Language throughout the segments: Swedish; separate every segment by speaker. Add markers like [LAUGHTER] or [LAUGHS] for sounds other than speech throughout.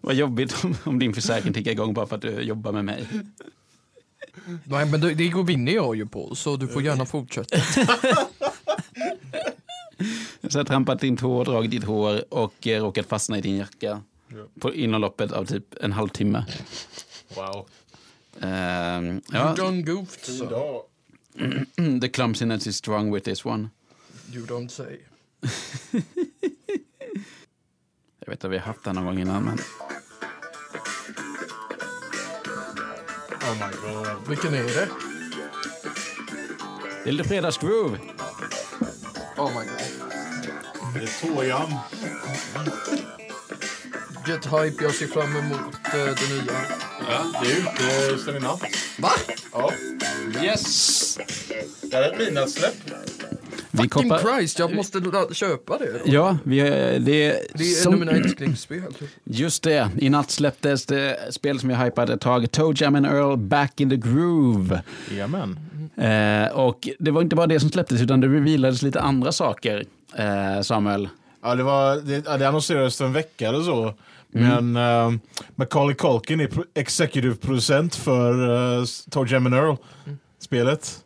Speaker 1: Vad jobbigt om, om din försäkring tickar igång bara för att du jobbar med mig.
Speaker 2: Nej, men det, det vinner jag ju på, så du får gärna fortsätta.
Speaker 1: Så jag har trampat din tå, dragit ditt hår och eh, råkat fastna i din jacka. På, inom loppet av typ en halvtimme.
Speaker 3: Wow.
Speaker 1: Ehm, ja, [CLEARS THROAT]
Speaker 2: You done goofed,
Speaker 3: Fin
Speaker 2: sir.
Speaker 3: dag.
Speaker 1: the clumsiness is strong with this one.
Speaker 2: You don't say.
Speaker 1: Jag vet att vi har haft den någon gång innan, men
Speaker 3: Oh my god.
Speaker 2: Vilken är det?
Speaker 1: det är lite fredagsgroove.
Speaker 2: Oh my god.
Speaker 3: Det är tåjam.
Speaker 2: Get hype, jag ser fram emot eh, det nya.
Speaker 3: Ja, det är ute sen i natt.
Speaker 2: Va?
Speaker 3: Ja.
Speaker 1: Yes!
Speaker 3: Det här är ett midnattssläpp.
Speaker 1: Vi
Speaker 2: King
Speaker 1: kopplar...
Speaker 2: Christ, jag måste la- köpa det. då.
Speaker 1: Ja, vi, eh, det
Speaker 2: Det
Speaker 1: är...
Speaker 2: är en av mina älsklingsspel.
Speaker 1: Just det, i natt släpptes det spel som jag hypade ett tag, Toe Jam and Earl Back in the Groove.
Speaker 4: Jajamän.
Speaker 1: Eh, och det var inte bara det som släpptes, utan det revealades lite andra saker, eh, Samuel.
Speaker 4: Ja, det, var, det, ja, det annonserades för en vecka eller så. Men uh, Macaulay Culkin är pro- executive producent för uh, Toe Jam and Earl-spelet.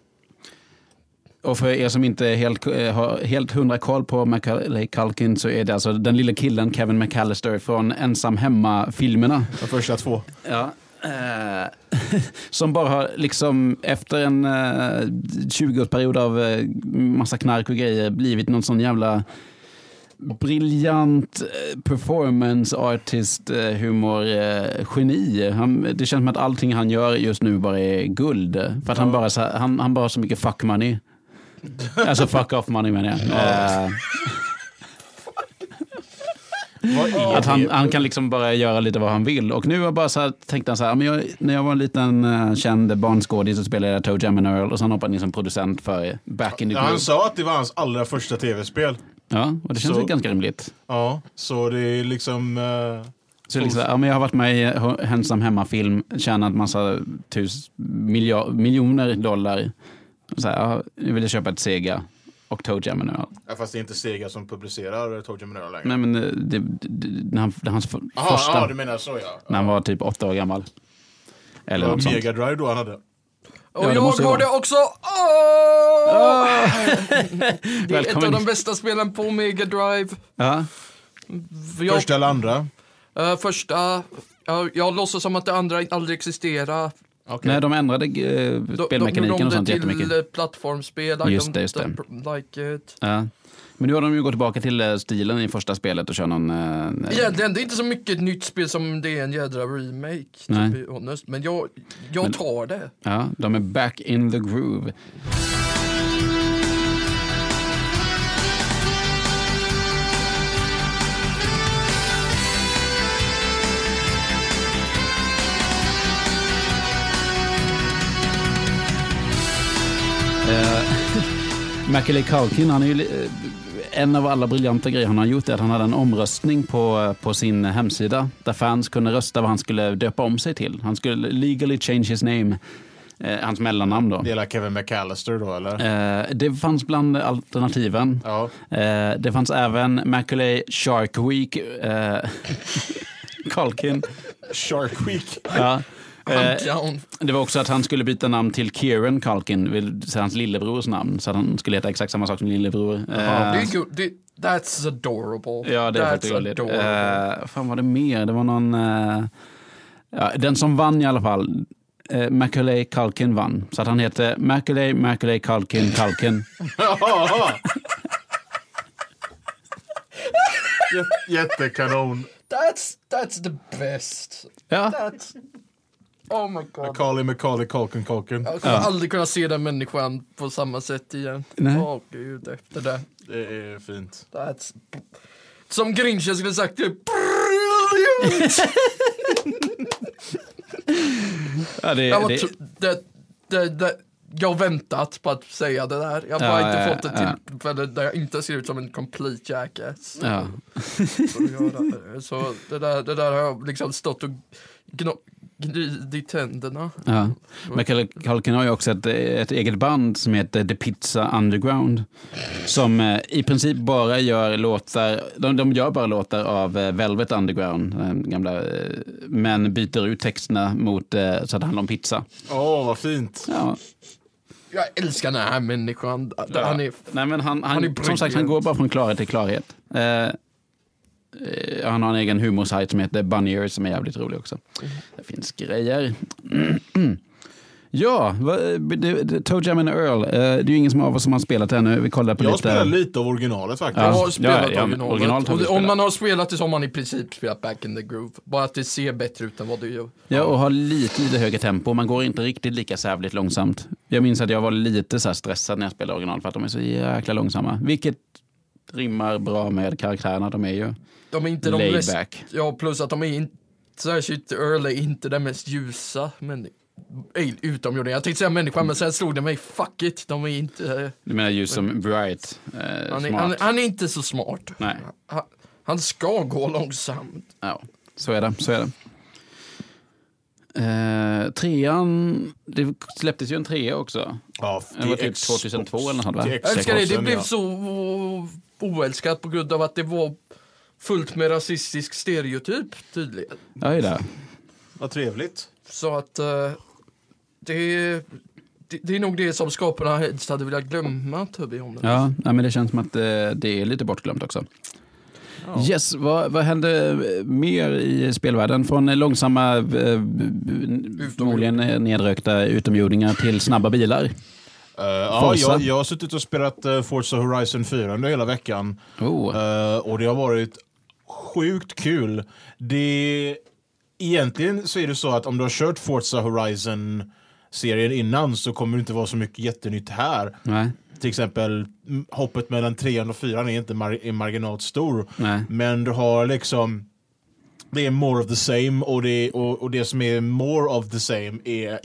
Speaker 1: Och för er som inte är helt, eh, har helt hundra koll på Macaulay Culkin så är det alltså den lilla killen Kevin McAllister från Ensam Hemma-filmerna.
Speaker 4: De första två.
Speaker 1: Ja. eh, [LAUGHS] som bara har, liksom, efter en eh, 20-årsperiod av eh, massa knark och grejer, blivit någon sån jävla briljant eh, performance artist eh, humor eh, geni. Han, det känns som att allting han gör just nu bara är guld. För att han, bara, så- han, han bara har så mycket fuck money. Alltså fuck off money menar jag. Eh,
Speaker 4: Vad är
Speaker 1: Att han,
Speaker 4: det?
Speaker 1: han kan liksom bara göra lite vad han vill. Och nu har jag bara så här, tänkte han så här, men jag, när jag var en liten eh, känd barnskådis så spelade jag Toe Jam and Earl och sen hoppade han in som producent för Back in the
Speaker 4: Ja,
Speaker 1: Groove.
Speaker 4: han sa att det var hans allra första tv-spel.
Speaker 1: Ja, och det känns
Speaker 4: Så-
Speaker 1: ju ganska rimligt.
Speaker 4: Ja, så det är liksom... eh,
Speaker 1: Så liksom, så här, ja, men jag har varit med i H- Hensam Hemma-film, tjänat massa tus, milja, miljoner dollar. Och Så här, ja, nu vill jag köpa ett Sega och Toe Jam and Earl.
Speaker 4: ja, fast det är inte Sega som publicerar Toe Jam and Earl längre.
Speaker 1: Nej men eh, det, det, det, han- det är hans f-
Speaker 4: Aha,
Speaker 1: första,
Speaker 4: ja, du menar så ja.
Speaker 1: när han var typ åtta år gammal. Eller
Speaker 4: Ja,
Speaker 1: något sånt.
Speaker 4: Mega Drive då han hade.
Speaker 2: Och
Speaker 1: Ja, det
Speaker 2: jag
Speaker 1: måste ju
Speaker 2: har
Speaker 1: vara. Ah!
Speaker 2: det också! Åh! Det är ett av
Speaker 1: Välkommen.
Speaker 2: de bästa spelen på Mega Drive.
Speaker 1: Ja.
Speaker 2: Jag,
Speaker 4: Första eller andra?
Speaker 2: eh, första jag, jag låtsas som att det andra aldrig existerar.
Speaker 1: Nej, de ändrade eh,
Speaker 2: De-
Speaker 1: spelmekaniken
Speaker 2: de,
Speaker 1: och sånt
Speaker 2: de, gjorde om det
Speaker 1: jättemycket.
Speaker 2: till eh, plattformsspel. like
Speaker 1: Just
Speaker 2: them-
Speaker 1: det, just det.
Speaker 2: them Like it.
Speaker 1: Ja. Men nu har de ju gått tillbaka till eh, stilen i första spelet och kör någon... Eh,
Speaker 2: Egentligen, det är inte så mycket ett nytt spel som det är en jädra remake.
Speaker 1: Nej.
Speaker 2: To be honest. Men jag,
Speaker 1: Men-
Speaker 2: jag tar det.
Speaker 1: ja, de är back in the groove. Macaulay Culkin, han är ju, li- eh, en av alla briljanta grejer han har gjort är att han hade en omröstning på, eh, på sin hemsida där fans kunde rösta vad han skulle döpa om sig till. Han skulle legally change his name, eh, hans mellannamn då.
Speaker 4: Det är Kevin McAllister då eller?
Speaker 1: Eh, det fanns bland alternativen.
Speaker 4: Ja.
Speaker 1: Eh, det fanns även Macaulay Shark Week, eh, [LAUGHS] Culkin.
Speaker 4: Shark Week.
Speaker 1: Ja. Eh,
Speaker 2: I'm down.
Speaker 1: det var också att han skulle byta namn till Kieran Culkin, vill- så hans lillebrors namn. Så att han skulle heta exakt samma sak som lillebror. Eh,
Speaker 2: Det är go- det, that's adorable.
Speaker 1: Ja, det är faktiskt
Speaker 2: that's
Speaker 1: roligt.
Speaker 2: adorable.
Speaker 1: Uh, fan var det mer? Det var någon... eh, ja, den som vann i alla fall, uh, Macaulay Culkin vann. Så att han heter Macaulay, Macaulay Culkin,
Speaker 2: [LAUGHS]
Speaker 1: Culkin.
Speaker 4: Jä- Jättekanon.
Speaker 2: That's, that's the best.
Speaker 1: ja.
Speaker 2: That's... Oh my god.
Speaker 4: Macaulay, Macaulay, Culkin, Culkin.
Speaker 2: Jag kommer aldrig kunna se den människan på samma sätt igen.
Speaker 1: Nej.
Speaker 2: Åh gud, efter det.
Speaker 4: Det är fint.
Speaker 2: That's... Som Grinchen skulle sagt, det är brilliant!
Speaker 1: ja det,
Speaker 2: jag, var
Speaker 1: det,
Speaker 2: tr- det, det, det, jag har väntat på att säga det där. Jag har bara
Speaker 1: Ja,
Speaker 2: inte
Speaker 1: ja,
Speaker 2: fått ett
Speaker 1: ja.
Speaker 2: tillfälle där jag inte ser ut som en complete jackass.
Speaker 1: ja. [LAUGHS]
Speaker 2: Så det där, det där har jag liksom stått och gno- Gnid i tänderna.
Speaker 1: Ja. Michael Culkin har ju också ett, ett eget band som heter The Pizza Underground. Som eh, i princip bara gör låtar, de, de gör bara låtar av eh, Velvet Underground, eh, gamla, eh, men byter ut texterna mot eh, så att det handlar om pizza.
Speaker 4: Åh, vad fint.
Speaker 1: Ja.
Speaker 2: Jag älskar den här människan.
Speaker 1: Ja.
Speaker 2: Han är...
Speaker 1: Nej, men han, han,
Speaker 2: Han är
Speaker 1: som
Speaker 2: briljant.
Speaker 1: sagt, han går bara från klarhet till klarhet. Eh, eh, han har en egen humorsajt som heter Bunny Ears som är jävligt rolig också. Det finns grejer. [CLEARS THROAT] ja, va- det- det- Toe Jam and Earl. eh, det är ju ingen som av oss som har spelat det ännu. Vi kollar på
Speaker 4: Jag
Speaker 1: lite.
Speaker 4: spelar lite av originalet faktiskt.
Speaker 2: Jag
Speaker 1: Ja.
Speaker 2: har spelat
Speaker 1: ja, men
Speaker 2: originalet.
Speaker 1: originalet har
Speaker 2: och
Speaker 1: vi
Speaker 2: det,
Speaker 1: spelat.
Speaker 2: om man har spelat det så har man i princip spelat Back in the Groove. Bara att det ser bättre ut än vad det gör.
Speaker 1: Ja, och har lite, lite högre tempo. Man går inte riktigt lika sävligt långsamt. Jag minns att jag var lite så här stressad när jag spelade original för att de är så jäkla långsamma. Vilket rimmar bra med karaktärerna. De är ju
Speaker 2: De är inte de
Speaker 1: laid
Speaker 2: mest...
Speaker 1: back.
Speaker 2: Ja, plus att de är inte... Särskilt Earl är inte den mest ljusa människan. Utomjordingar. Jag tänkte säga människan, men sen slog det mig. Fuck it, de är inte... eh,
Speaker 1: Du menar just som Bright. Eh,
Speaker 2: Han är,
Speaker 1: smart.
Speaker 2: han, han är inte så smart.
Speaker 1: Nej.
Speaker 2: Han, han ska gå långsamt.
Speaker 1: Ja, så är det. Så är det. Eh, trean, det släpptes ju en trea också.
Speaker 4: Ja,
Speaker 1: Det var typ
Speaker 4: Xbox-
Speaker 1: 2002 eller något sånt, va?
Speaker 4: till
Speaker 2: Jag älskar det, det
Speaker 4: Xboxen,
Speaker 2: blev
Speaker 4: ja.
Speaker 2: så o- oälskat på grund av att det var fullt med rasistisk stereotyp tydligen.
Speaker 1: Oj då.
Speaker 4: Vad trevligt.
Speaker 2: Så att eh, det, det, det är nog det som skaparna helst hade velat glömma Tubby om den.
Speaker 1: Ja, nej, men det känns som att eh, det är lite bortglömt också. Yes, vad, vad hände eh, mer i spelvärlden? Från eh, långsamma, eh, b- b- förmodligen eh, nedrökta utomjordingar till snabba bilar.
Speaker 4: Eh, ja,
Speaker 1: Forza.
Speaker 4: jag, jag har suttit och spelat eh, Forza Horizon 4 under hela veckan.
Speaker 1: Oh.
Speaker 4: Eh, och det har varit sjukt kul. Det... Egentligen så är det så att om du har kört Forza Horizon-serien innan så kommer det inte vara så mycket jättenytt här.
Speaker 1: Nej.
Speaker 4: Till exempel m- hoppet mellan 3 och 4 är inte mar- är marginalt stor.
Speaker 1: Nej.
Speaker 4: Men du har liksom det är more of the same och det, och, och det som är more of the same är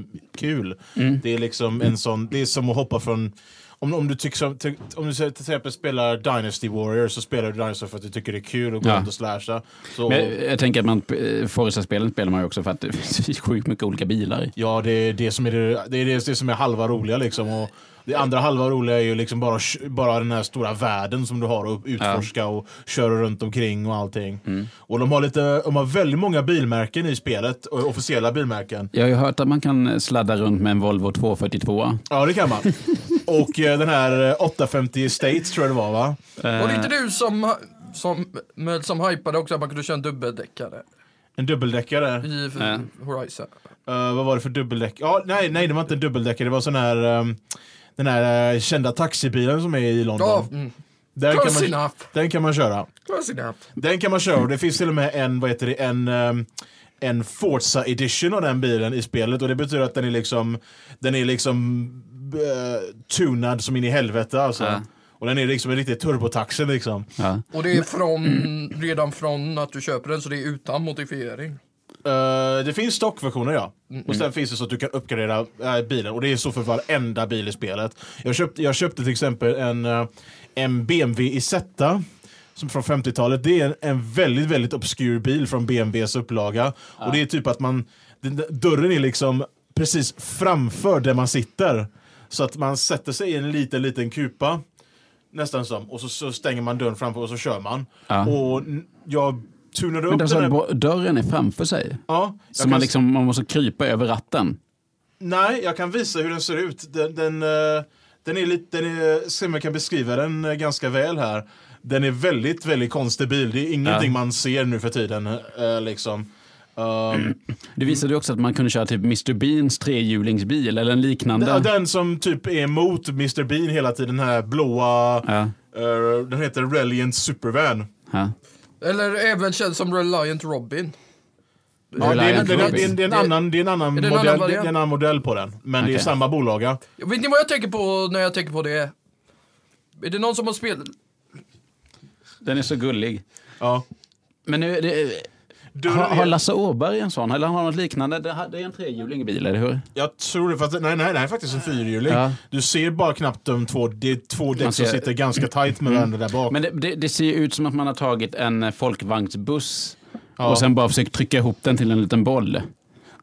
Speaker 4: jättekul.
Speaker 1: Mm.
Speaker 4: Det är liksom en sån, det är som att hoppa från om, om du tycker som, ty- om du till exempel spelar Dynasty Warriors så spelar du Dynasty för att du tycker det är kul att gå
Speaker 1: Ja.
Speaker 4: runt och slasha. Så,
Speaker 1: Men jag, jag tänker att man, eh, Forza-spelen spelar man ju också för att det [LAUGHS] finns sjukt mycket olika bilar.
Speaker 4: Ja, det är det som är, det, det är, det, det som är halva roliga liksom. Och det andra halva roliga är ju liksom bara, bara den här stora världen som du har att utforska och köra runt omkring och allting. Och de har, lite, de har väldigt många bilmärken i spelet, och officiella bilmärken.
Speaker 1: Jag har ju hört att man kan sladda runt med en Volvo 242.
Speaker 4: Ja, det kan man. och eh, den här eh, 850 States tror jag det var, va?
Speaker 2: Var det inte du som, som, med- som hypade också att man kunde köra en dubbeldäckare
Speaker 4: En dubbeldäckare.
Speaker 2: i
Speaker 1: Ja.
Speaker 2: Horizon?
Speaker 4: Eh, vad var det för dubbeldäck? Ja, nej, nej, det var inte en dubbeldäckare. Det var sån här... ehm, den här eh, kända taxibilen som är i London.
Speaker 2: Ja, mm.
Speaker 4: den, kan
Speaker 2: close
Speaker 4: man,
Speaker 2: enough.
Speaker 4: den kan man köra.
Speaker 2: Close enough.
Speaker 4: Den kan man köra och det finns till och med en, vad heter det, en, ehm, en Forza edition av den bilen i spelet och det betyder att den är liksom, den är liksom eh, tunad som in i helvete alltså.
Speaker 1: Ja.
Speaker 4: Och den är liksom en riktig turbotaxi liksom.
Speaker 1: Ja.
Speaker 2: Och det är från, redan från att du köper den så det är utan modifiering.
Speaker 4: Eh, det finns stockversioner ja.
Speaker 1: Mm,
Speaker 4: Och sen finns det så att du kan uppgradera eh, bilen och det är så för varenda bil i spelet. Jag köpte, jag köpte till exempel en, eh, en BMW Isetta som från 50-talet. Det är en, en väldigt, väldigt obskur bil från BMWs upplaga. Och det är typ att man, den, där- dörren är liksom precis framför där man sitter. Så att man sätter sig i en liten, liten kupa. Nästan som. Och så, så stänger man dörren framför och så kör man.
Speaker 1: Ja.
Speaker 4: Och n- jag tunade upp
Speaker 1: Men alltså,
Speaker 4: den här...
Speaker 1: bo- dörren är framför sig.
Speaker 4: Ja, jag
Speaker 1: Så
Speaker 4: kan
Speaker 1: man,
Speaker 4: s-
Speaker 1: liksom, man måste krypa över ratten.
Speaker 4: Nej, jag kan visa hur den ser ut. Den, den, eh, den är lite, den är, se om jag kan beskriva den eh, ganska väl här. Den är väldigt, väldigt konstig bil. Det är ingenting
Speaker 1: Ja.
Speaker 4: man ser nu för tiden. eh, Liksom. Um,
Speaker 1: Du visade ju också att man kunde köra typ Mr Beans trehjulingsbil eller en liknande.
Speaker 4: den, den som typ är emot Mr Bean hela tiden, den här blåa,
Speaker 1: Ja,
Speaker 4: eh, den heter Reliant Supervan.
Speaker 1: ja.
Speaker 2: Eller även känd som Reliant Robin.
Speaker 4: Ja, det, är,
Speaker 1: Reliant
Speaker 4: det, är, det, är,
Speaker 1: Robin.
Speaker 4: det, är en annan, det är en annan
Speaker 2: Är det en
Speaker 4: modell,
Speaker 2: annan
Speaker 4: det är
Speaker 2: variant?
Speaker 4: en annan modell på den. Men det är
Speaker 1: Okej.
Speaker 4: samma bolaga.
Speaker 2: Vet ni vad jag tänker på när jag tänker på det? Är det någon som har spelat?
Speaker 1: Den är så gullig.
Speaker 4: Ja.
Speaker 1: Men nu, det,
Speaker 4: Dörren
Speaker 1: har,
Speaker 4: är-
Speaker 1: har Lasse Åberg en sån? Eller har han något liknande? Det, har- det är en trehjuling bil, eller hur?
Speaker 4: Jag tror det, fast nej, nej, det här är faktiskt en fyrhjuling.
Speaker 1: Ja.
Speaker 4: Du ser bara knappt de två, det är två däck som
Speaker 1: ser-
Speaker 4: sitter ganska tajt med varandra där bak.
Speaker 1: Men det, det, det ser ju ut som att man har tagit en eh, folkvagnsbuss
Speaker 4: Ja.
Speaker 1: och sen bara försökt trycka ihop den till en liten boll.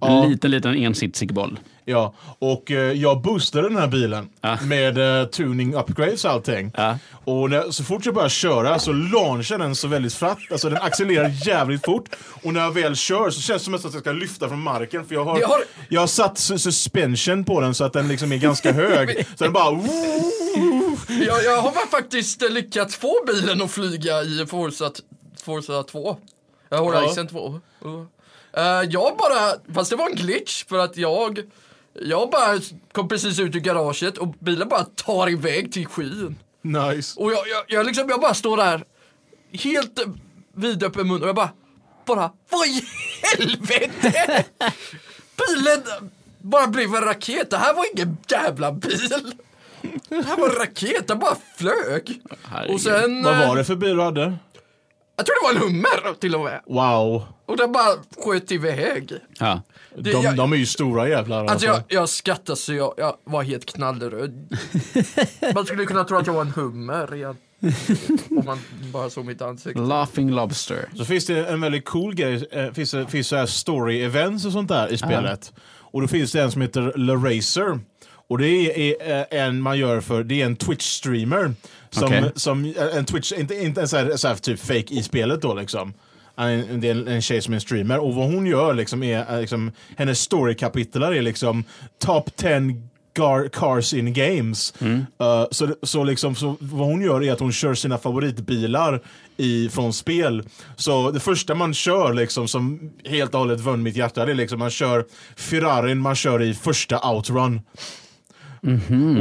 Speaker 4: Ja.
Speaker 1: En liten, liten ensitsig boll.
Speaker 4: Ja, och eh, jag boostade den här bilen
Speaker 1: Ja.
Speaker 4: med eh, tuning upgrades och allting.
Speaker 1: Ja.
Speaker 4: Och när, så fort jag börjar köra så launchar den så väldigt fratt, alltså den
Speaker 1: [LAUGHS]
Speaker 4: accelererar jävligt fort. Och när jag väl kör så känns det som att jag ska lyfta från marken för jag har,
Speaker 2: Jag har-
Speaker 4: jag har satt su- suspension på den så att den liksom är ganska
Speaker 1: [LAUGHS]
Speaker 4: hög. så den bara...
Speaker 2: Jag, jag har faktiskt eh, lyckats få bilen att flyga i Forza, t- Forza 2. Ja, Horizon 2. Uh. Eh, jag bara, fast det var en glitch för att jag, jag bara kom precis ut ur garaget och bilen bara tar iväg till skyn.
Speaker 4: Nice.
Speaker 2: Och jag, jag, jag, liksom, jag bara står där helt eh, vidöppen mun och jag bara, bara, vad i helvete? Bilen bara blev en raket, det här var ingen jävla bil. Det här var en raket, den bara flög.
Speaker 1: Herregud.
Speaker 2: Och sen,
Speaker 4: Vad var
Speaker 2: eh,
Speaker 4: det för bil du hade?
Speaker 2: jag tror det var en hummer till och med.
Speaker 4: Wow.
Speaker 2: Och den bara sköt iväg.
Speaker 1: Ja.
Speaker 2: Det-
Speaker 4: De,
Speaker 2: jag-
Speaker 4: de är ju stora jävlar.
Speaker 2: Alltså jag, jag skrattade så jag, jag var helt knallröd. Man skulle kunna tro att jag var en hummer igen. Om man bara såg mitt ansikte.
Speaker 1: Laughing Lobster.
Speaker 4: Så finns det en väldigt cool grej, eh, finns, det- finns så här story events och sånt där i spelet. Och då finns det en som heter Le Racer. Och det är, är eh, en man gör för, det är en Twitch-streamer. Som,
Speaker 1: Okej.
Speaker 4: som eh, en Twitch, inte, inte en så här, så här typ fake i spelet då liksom. Han är en- Det är en, en tjej som är streamer och vad hon gör liksom är, är liksom, hennes storykapitlar är liksom top 10 gar, cars in games. Eh, så, så liksom, så vad hon gör är att hon kör sina favoritbilar i, från spel. Så det första man kör liksom som helt och hållet vann mitt hjärta, det är liksom man kör Ferrarin man kör i första outrun.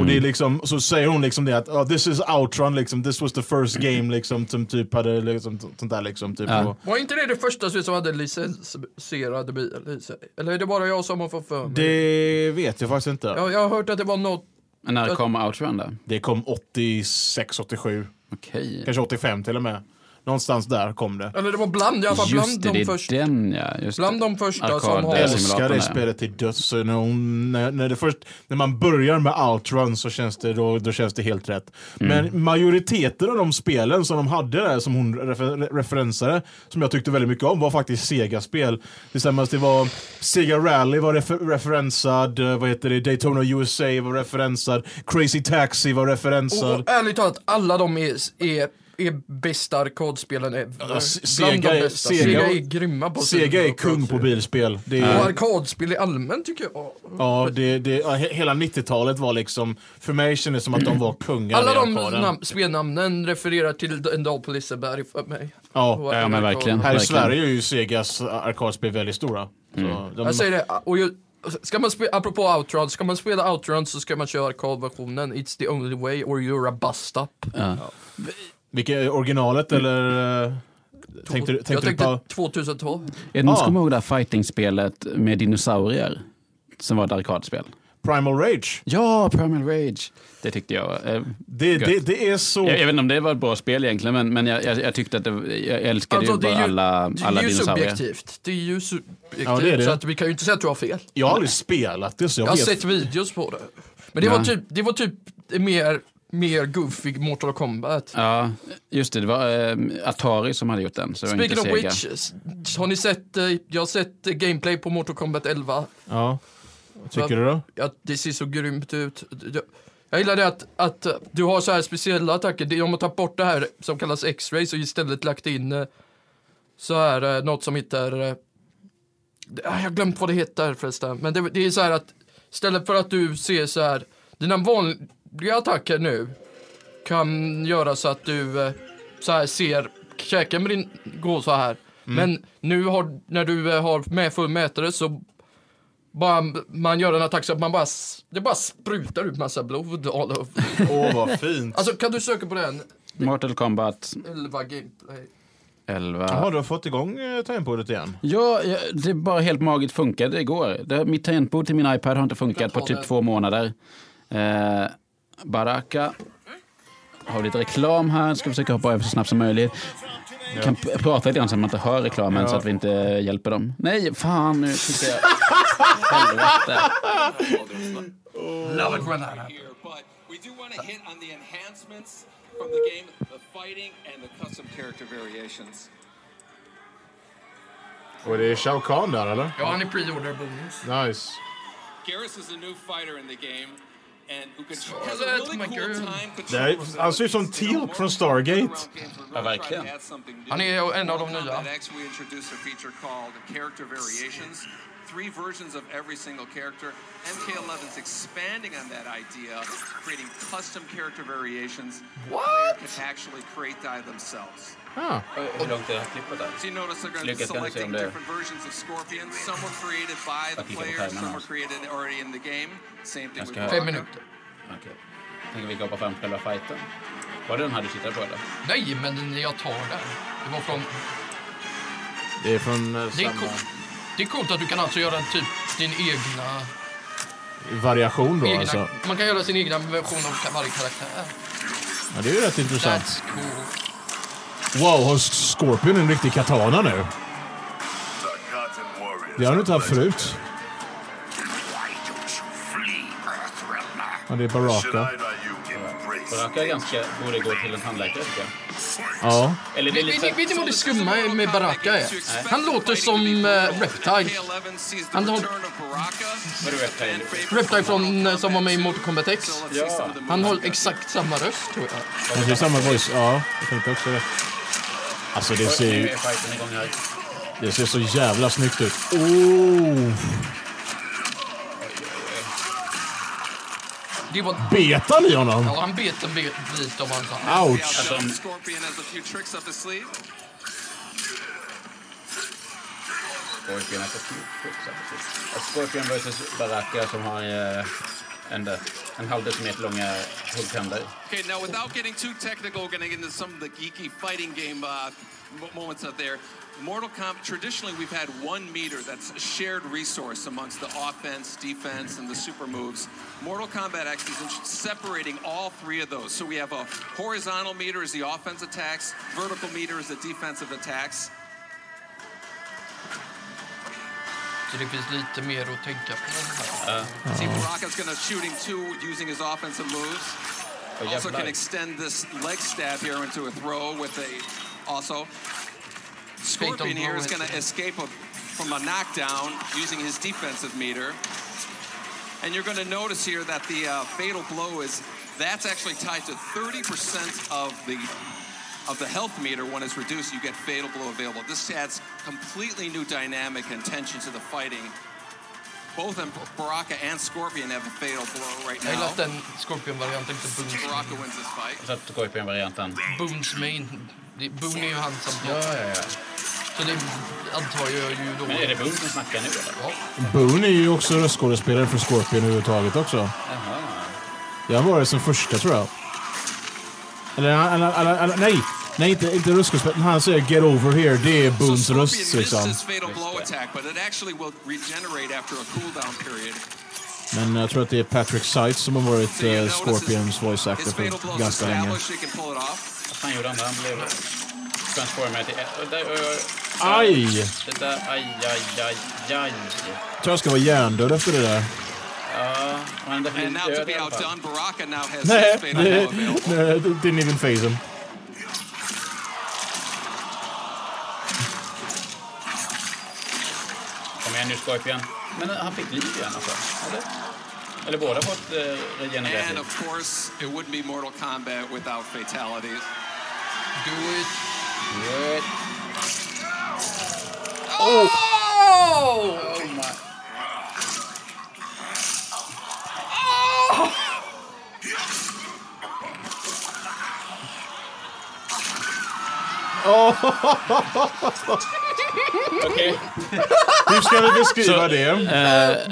Speaker 4: Och det är liksom, så säger hon liksom det att oh, this is outrun, liksom, this was the first game liksom, som typ hade liksom, sånt där liksom. Typ,
Speaker 1: Ja.
Speaker 4: och,
Speaker 2: Var inte det det första som hade licensierade bil i sig? Eller är det bara jag som har fått för mig?
Speaker 4: det vet jag faktiskt inte.
Speaker 2: Jag, jag har hört att det var något...
Speaker 1: Men när kom Outrun då?
Speaker 4: Det kom 86, 87,
Speaker 1: Okej.
Speaker 4: kanske 85 till och med. Någonstans där kom det.
Speaker 2: Eller det var bland, i alla fall
Speaker 1: Just
Speaker 2: bland
Speaker 1: det, det
Speaker 2: de
Speaker 1: är
Speaker 2: första.
Speaker 1: den ja. Just
Speaker 2: Bland
Speaker 1: det.
Speaker 2: de första
Speaker 1: Arkad,
Speaker 2: som har-
Speaker 1: där
Speaker 4: Jag
Speaker 2: Älskar
Speaker 4: älskar
Speaker 1: simulatorn
Speaker 4: det
Speaker 1: är.
Speaker 4: spelet till döds. Så När, hon, när, när, det först, när man börjar med Outrun så känns det, då, då känns det helt rätt.
Speaker 1: Mm.
Speaker 4: Men majoriteten av de spelen som de hade där, som hon refer, referensade, som jag tyckte väldigt mycket om, var faktiskt Sega-spel. Tillsammans det var Sega Rally var refer, referensad, eh, vad heter det, Daytona USA var referensad, Crazy Taxi var referensad.
Speaker 2: Och ärligt talat, alla de är, är, är bästa arkadspelen ever. Bland
Speaker 4: S- Sega
Speaker 2: de
Speaker 4: är-
Speaker 2: bästa.
Speaker 4: Sega-
Speaker 2: Sega, är grymma på
Speaker 4: Sega är
Speaker 2: sina
Speaker 4: kung på
Speaker 2: arkadspel.
Speaker 4: bilspel. Det
Speaker 2: Och
Speaker 4: är,
Speaker 2: arkadspel i allmänt tycker jag.
Speaker 4: ja, det, det, ja, he- hela 90-talet var liksom, för mig kändes det som att de var kungar
Speaker 2: Alla
Speaker 4: i
Speaker 2: de
Speaker 4: arkaden.
Speaker 2: nam- spelnamnen refererar till en dag på Liseberg för mig.
Speaker 4: Ja.
Speaker 1: Ja, men verkligen.
Speaker 4: Här i
Speaker 1: Verkligen.
Speaker 4: Sverige är ju Segas arkadspel väldigt stora. Så de,
Speaker 2: Jag säger det, och ju- ska man spela, apropå outrun, ska man spela outrun så ska man köra arkadversionen It's the only way or you're a bust up.
Speaker 4: vilket, originalet eller? eh, Tänkte, du-
Speaker 2: Mm. jag
Speaker 4: tänkte du
Speaker 2: tänkte
Speaker 4: på?
Speaker 2: 2012.
Speaker 1: Är det någon
Speaker 4: Ja.
Speaker 1: som kommer ihåg det här fighting-spelet med dinosaurier? Som var ett arkadspel.
Speaker 4: Primal Rage?
Speaker 1: Ja, Primal Rage! Det tyckte jag. var- eh,
Speaker 4: Det,
Speaker 1: Gött.
Speaker 4: det, det är så...
Speaker 1: Jag, jag vet inte om det var ett bra spel egentligen, men, men jag, jag, jag tyckte att det, jag älskade
Speaker 2: Alltså,
Speaker 1: ju bara alla,
Speaker 2: det är
Speaker 1: alla
Speaker 2: ju
Speaker 1: dinosaurier.
Speaker 2: subjektivt. Det är ju subjektivt.
Speaker 4: Ja, det är det.
Speaker 2: Så att vi kan ju inte säga att du har fel.
Speaker 4: Jag har aldrig spelat det så jag,
Speaker 2: Jag har
Speaker 4: vet.
Speaker 2: sett videos på det. Men det
Speaker 1: Ja.
Speaker 2: var typ, det var typ mer, mer goofy Mortal Kombat.
Speaker 1: Ja, just det. Det var eh, Atari som hade gjort den. Så det var
Speaker 2: Speaking
Speaker 1: inte
Speaker 2: of
Speaker 1: Sega.
Speaker 2: which, s- har ni sett, eh, jag har sett eh, gameplay på Mortal Kombat 11.
Speaker 4: Ja. Vad Tycker du då?
Speaker 2: Ja, det ser så grymt ut. Jag, jag gillar det att, att eh, du har så här speciella attacker. Det- De har tagit bort det här som kallas X-rays och istället lagt in eh, så här eh, något som heter... eh, det- ah, Jag har glömt vad det heter förresten. Men det, det är så här att istället för att du ser så här, dina vanliga attacker nu kan göra så att du eh, så här ser käken med din, gå så här. Men nu har, när du eh, har med full mätare så bara, man gör en attack så att man bara, s- det bara sprutar ut massa blod all over.
Speaker 4: Åh, vad fint.
Speaker 2: Alltså kan du söka på den?
Speaker 1: Mortal Kombat
Speaker 2: 11 gameplay.
Speaker 1: 11.
Speaker 4: [LAUGHS] Jaha, du har fått igång eh, tangentbordet igen?
Speaker 1: Ja, ja, det bara helt magiskt funkade igår. Det, mitt tangentbord till min iPad har inte funkat på
Speaker 2: ta
Speaker 1: typ
Speaker 2: det.
Speaker 1: två månader. Eh, Baraka. Har vi lite reklam här. Ska försöka hoppa över så snabbt som möjligt. Vi kan p- prata lite grann så att man inte hör reklamen så att vi inte hjälper dem. Nej, fan nu tycker jag... Helvete.
Speaker 2: Love it when that happens.
Speaker 5: here, but we do want to hit on the enhancements from the game, the fighting, and the custom character variations.
Speaker 4: Och det är Shao Kahn där eller?
Speaker 2: Ja, han är pre-order bonus.
Speaker 4: Nice.
Speaker 5: Garrus is a new fighter in the game, and who can has a
Speaker 2: Hello,
Speaker 5: really
Speaker 2: my
Speaker 5: cool
Speaker 2: girl.
Speaker 5: time
Speaker 4: Det här,
Speaker 5: controlling
Speaker 4: han ser ut som Teal'c från Stargate.
Speaker 1: Ja, verkligen.
Speaker 2: Han är ju en av de nya.
Speaker 5: X, we introduced a feature called character variations. Three versions of every single character. MK11's expanding on that idea, creating custom character variations. What? Player can actually create die themselves.
Speaker 4: Ah.
Speaker 1: Hur långt är det här klippet där?
Speaker 5: So you notice they're going to be
Speaker 1: Lyckas kanske om
Speaker 5: selecting
Speaker 1: det-
Speaker 5: different versions of Scorpion. Some were created by the
Speaker 1: Jag klickar på
Speaker 5: player,
Speaker 1: timern
Speaker 5: some were
Speaker 1: alltså.
Speaker 5: created already in the game. Same thing
Speaker 1: Jag
Speaker 5: with
Speaker 1: ska-
Speaker 2: Fem
Speaker 5: Baraka.
Speaker 2: minuter.
Speaker 1: Okej. Tänker vi gå på fram till själva fighten. Var det den här du tittade på eller?
Speaker 2: Nej, men jag tar den. Det var från...
Speaker 4: Det är från eh,
Speaker 2: Det är
Speaker 4: samma
Speaker 2: coolt. Det är coolt att du kan alltså göra typ din egna...
Speaker 4: variation då
Speaker 2: egna
Speaker 4: alltså.
Speaker 2: Man kan göra sin egna version av ka- varje karaktär.
Speaker 4: Ja, det är ju rätt intressant.
Speaker 2: That's cool.
Speaker 4: Wow, har Scorpion en riktig katana nu? Det har han inte haft förut.
Speaker 6: Why don't you flee, Earthrealmer?
Speaker 4: Ja, det är Baraka.
Speaker 6: Should I let you embrace
Speaker 1: Baraka är ganska... borde gå till en tandläkare tycker jag.
Speaker 4: Ja.
Speaker 1: Eller det är
Speaker 2: Vet,
Speaker 1: lite...
Speaker 2: vet, vet ni vad det skumma är med Baraka är? Han låter som eh, Reptile. Han har-
Speaker 1: Vad är Reptile?
Speaker 2: Reptile från, eh, som var med i Mortal Kombat X.
Speaker 1: Ja.
Speaker 2: Han har exakt samma röst, tror jag.
Speaker 4: Men Alltså, Det är samma voice. Ja, jag tänkte också det. Alltså det ser
Speaker 1: Nu
Speaker 4: ju
Speaker 1: är fighten igång här.
Speaker 4: det ser så jävla snyggt ut. Oh!
Speaker 2: Det var...
Speaker 4: Betar ni honom?
Speaker 2: Ja, han bet en bit bit av hans hand.
Speaker 4: Ouch!
Speaker 5: Scorpion has a few tricks up his sleeve.
Speaker 1: Scorpion är så kul. också, precis. Att Scorpion vs Baraka som har eh, en, där- en halv decimeter långa huggtänder.
Speaker 5: Okay, now without getting too technical, we're going to get into some of the geeky fighting game uh, mo- moments out there. Mortal Kombat, traditionally, we've had one meter that's a shared resource amongst the offense, defense, and the super moves. Mortal Kombat X is int- separating all three of those. So we have a horizontal meter is the offense attacks, vertical meter is the defensive attacks.
Speaker 2: Så det finns lite mer att tänka på.
Speaker 5: See, Baraka's going to shooting two using his offensive moves.
Speaker 1: Och
Speaker 5: Also
Speaker 1: jävlar.
Speaker 5: can extend this leg stab here into a throw with a also. Scorpion here is going to escape a, from a knockdown using his defensive meter. And you're going to notice here that the uh, fatal blow is that's actually tied to 30% of the of the health meter when it's reduced you get fatal blow available. This adds completely new dynamic and tension to the fighting. Both them, Baraka and Scorpion have a fatal blow right
Speaker 2: Jag gillar
Speaker 5: now.
Speaker 2: att den Scorpion-varianten heter Boons
Speaker 5: Baraka
Speaker 2: Main.
Speaker 5: wins this fight.
Speaker 1: Så att Scorpion-varianten...
Speaker 2: Boons Main. Det- Boon är ju han som...
Speaker 1: Ja, ja, ja.
Speaker 2: Så det antar jag ju då...
Speaker 1: Men är det Boone som snackar nu eller?
Speaker 2: Ja.
Speaker 4: Boone är ju också röstskådespelare för Scorpion överhuvudtaget också.
Speaker 1: Jaha.
Speaker 4: Jag var det som första tror jag. Eller, eller, eller, eller nej! Nej, inte, inte röstskådespelaren. Han säger “Get over here”. Det är
Speaker 5: So
Speaker 4: Boones
Speaker 5: Scorpion
Speaker 4: röst
Speaker 5: missed
Speaker 4: liksom.
Speaker 5: his fatal blow
Speaker 1: Just
Speaker 5: attack, but it actually will regenerate after a cooldown period.
Speaker 4: Men jag tror att det är Patrick Seitz som har varit
Speaker 5: So you
Speaker 4: eh,
Speaker 5: notice his-
Speaker 4: Scorpions voice actor
Speaker 5: His fatal blow
Speaker 4: för
Speaker 5: is
Speaker 4: ganska länge.
Speaker 5: established, he can pull it off.
Speaker 1: Vad fan gjorde han? där? Han blev transformad till... Och där- och- och-
Speaker 4: Aj!
Speaker 1: Det där... Aj, aj, aj, aj.
Speaker 4: Jag tror jag ska vara hjärndöd efter det där.
Speaker 1: Ja, han är
Speaker 5: And now
Speaker 1: definitivt
Speaker 5: to
Speaker 1: död
Speaker 5: be
Speaker 1: i alla fall.
Speaker 5: outdone, Baraka now has
Speaker 4: Nej,
Speaker 5: his fatal blow available.
Speaker 4: nej, didn't even face him.
Speaker 1: Kom igen nu Scorpion. Men han fick liv igen alltså? Eller? Eller båda har fått eh, regenererat
Speaker 5: And
Speaker 1: liv?
Speaker 5: of course, it wouldn't be Mortal Kombat without fatalities.
Speaker 2: Do it.
Speaker 1: Good.
Speaker 2: Oh!
Speaker 1: Oh my. Okej.
Speaker 2: [LAUGHS]
Speaker 4: Hur ska vi beskriva det?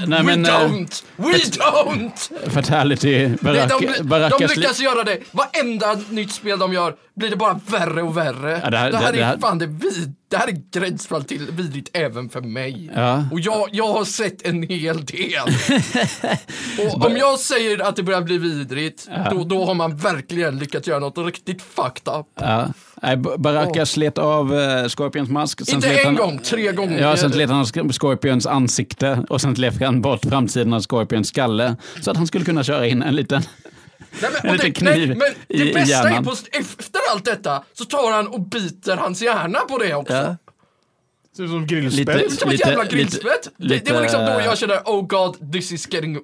Speaker 1: Nej
Speaker 2: We
Speaker 1: men, eh,
Speaker 2: don't! We don't!
Speaker 1: fatality,
Speaker 2: Nej, de,
Speaker 1: Baraka,
Speaker 2: de,
Speaker 1: Barakas liv.
Speaker 2: lyckas göra det. Varenda nytt spel de gör blir det bara värre och värre.
Speaker 1: Ja,
Speaker 2: det, här, är
Speaker 1: det här-
Speaker 2: fan det vid, Det här är gränsfall till vidrigt även för mig.
Speaker 1: Ja.
Speaker 2: Och jag, jag har sett en
Speaker 1: [LAUGHS]
Speaker 2: hel del. och om jag säger att det börjar bli vidrigt, då, då har man verkligen lyckats göra något riktigt fucked up.
Speaker 1: Ja. Nej, Ba- Baraka
Speaker 2: Åh.
Speaker 1: slet av eh, Scorpions mask. sen
Speaker 2: Inte
Speaker 1: slet
Speaker 2: en
Speaker 1: han-
Speaker 2: gång, tre gånger.
Speaker 1: Ja, sen slet han av Sk- Scorpions ansikte och sen slet han bort framsidan av Scorpions skalle. Så att han skulle kunna köra in en liten...
Speaker 2: Nej, men,
Speaker 1: En
Speaker 2: och det,
Speaker 1: liten
Speaker 2: nej,
Speaker 1: kniv
Speaker 2: men
Speaker 1: i- i
Speaker 2: det bästa är
Speaker 1: hjärnan.
Speaker 2: på, efter allt detta så tar han och biter hans hjärna på det också.
Speaker 4: Ser ut som
Speaker 1: Lite-
Speaker 4: grillspett.
Speaker 2: Det är som ett
Speaker 1: lite-
Speaker 2: jävla
Speaker 1: lite-
Speaker 2: grillspett! Det, det var
Speaker 1: lite-
Speaker 2: liksom då jag kände oh god this is getting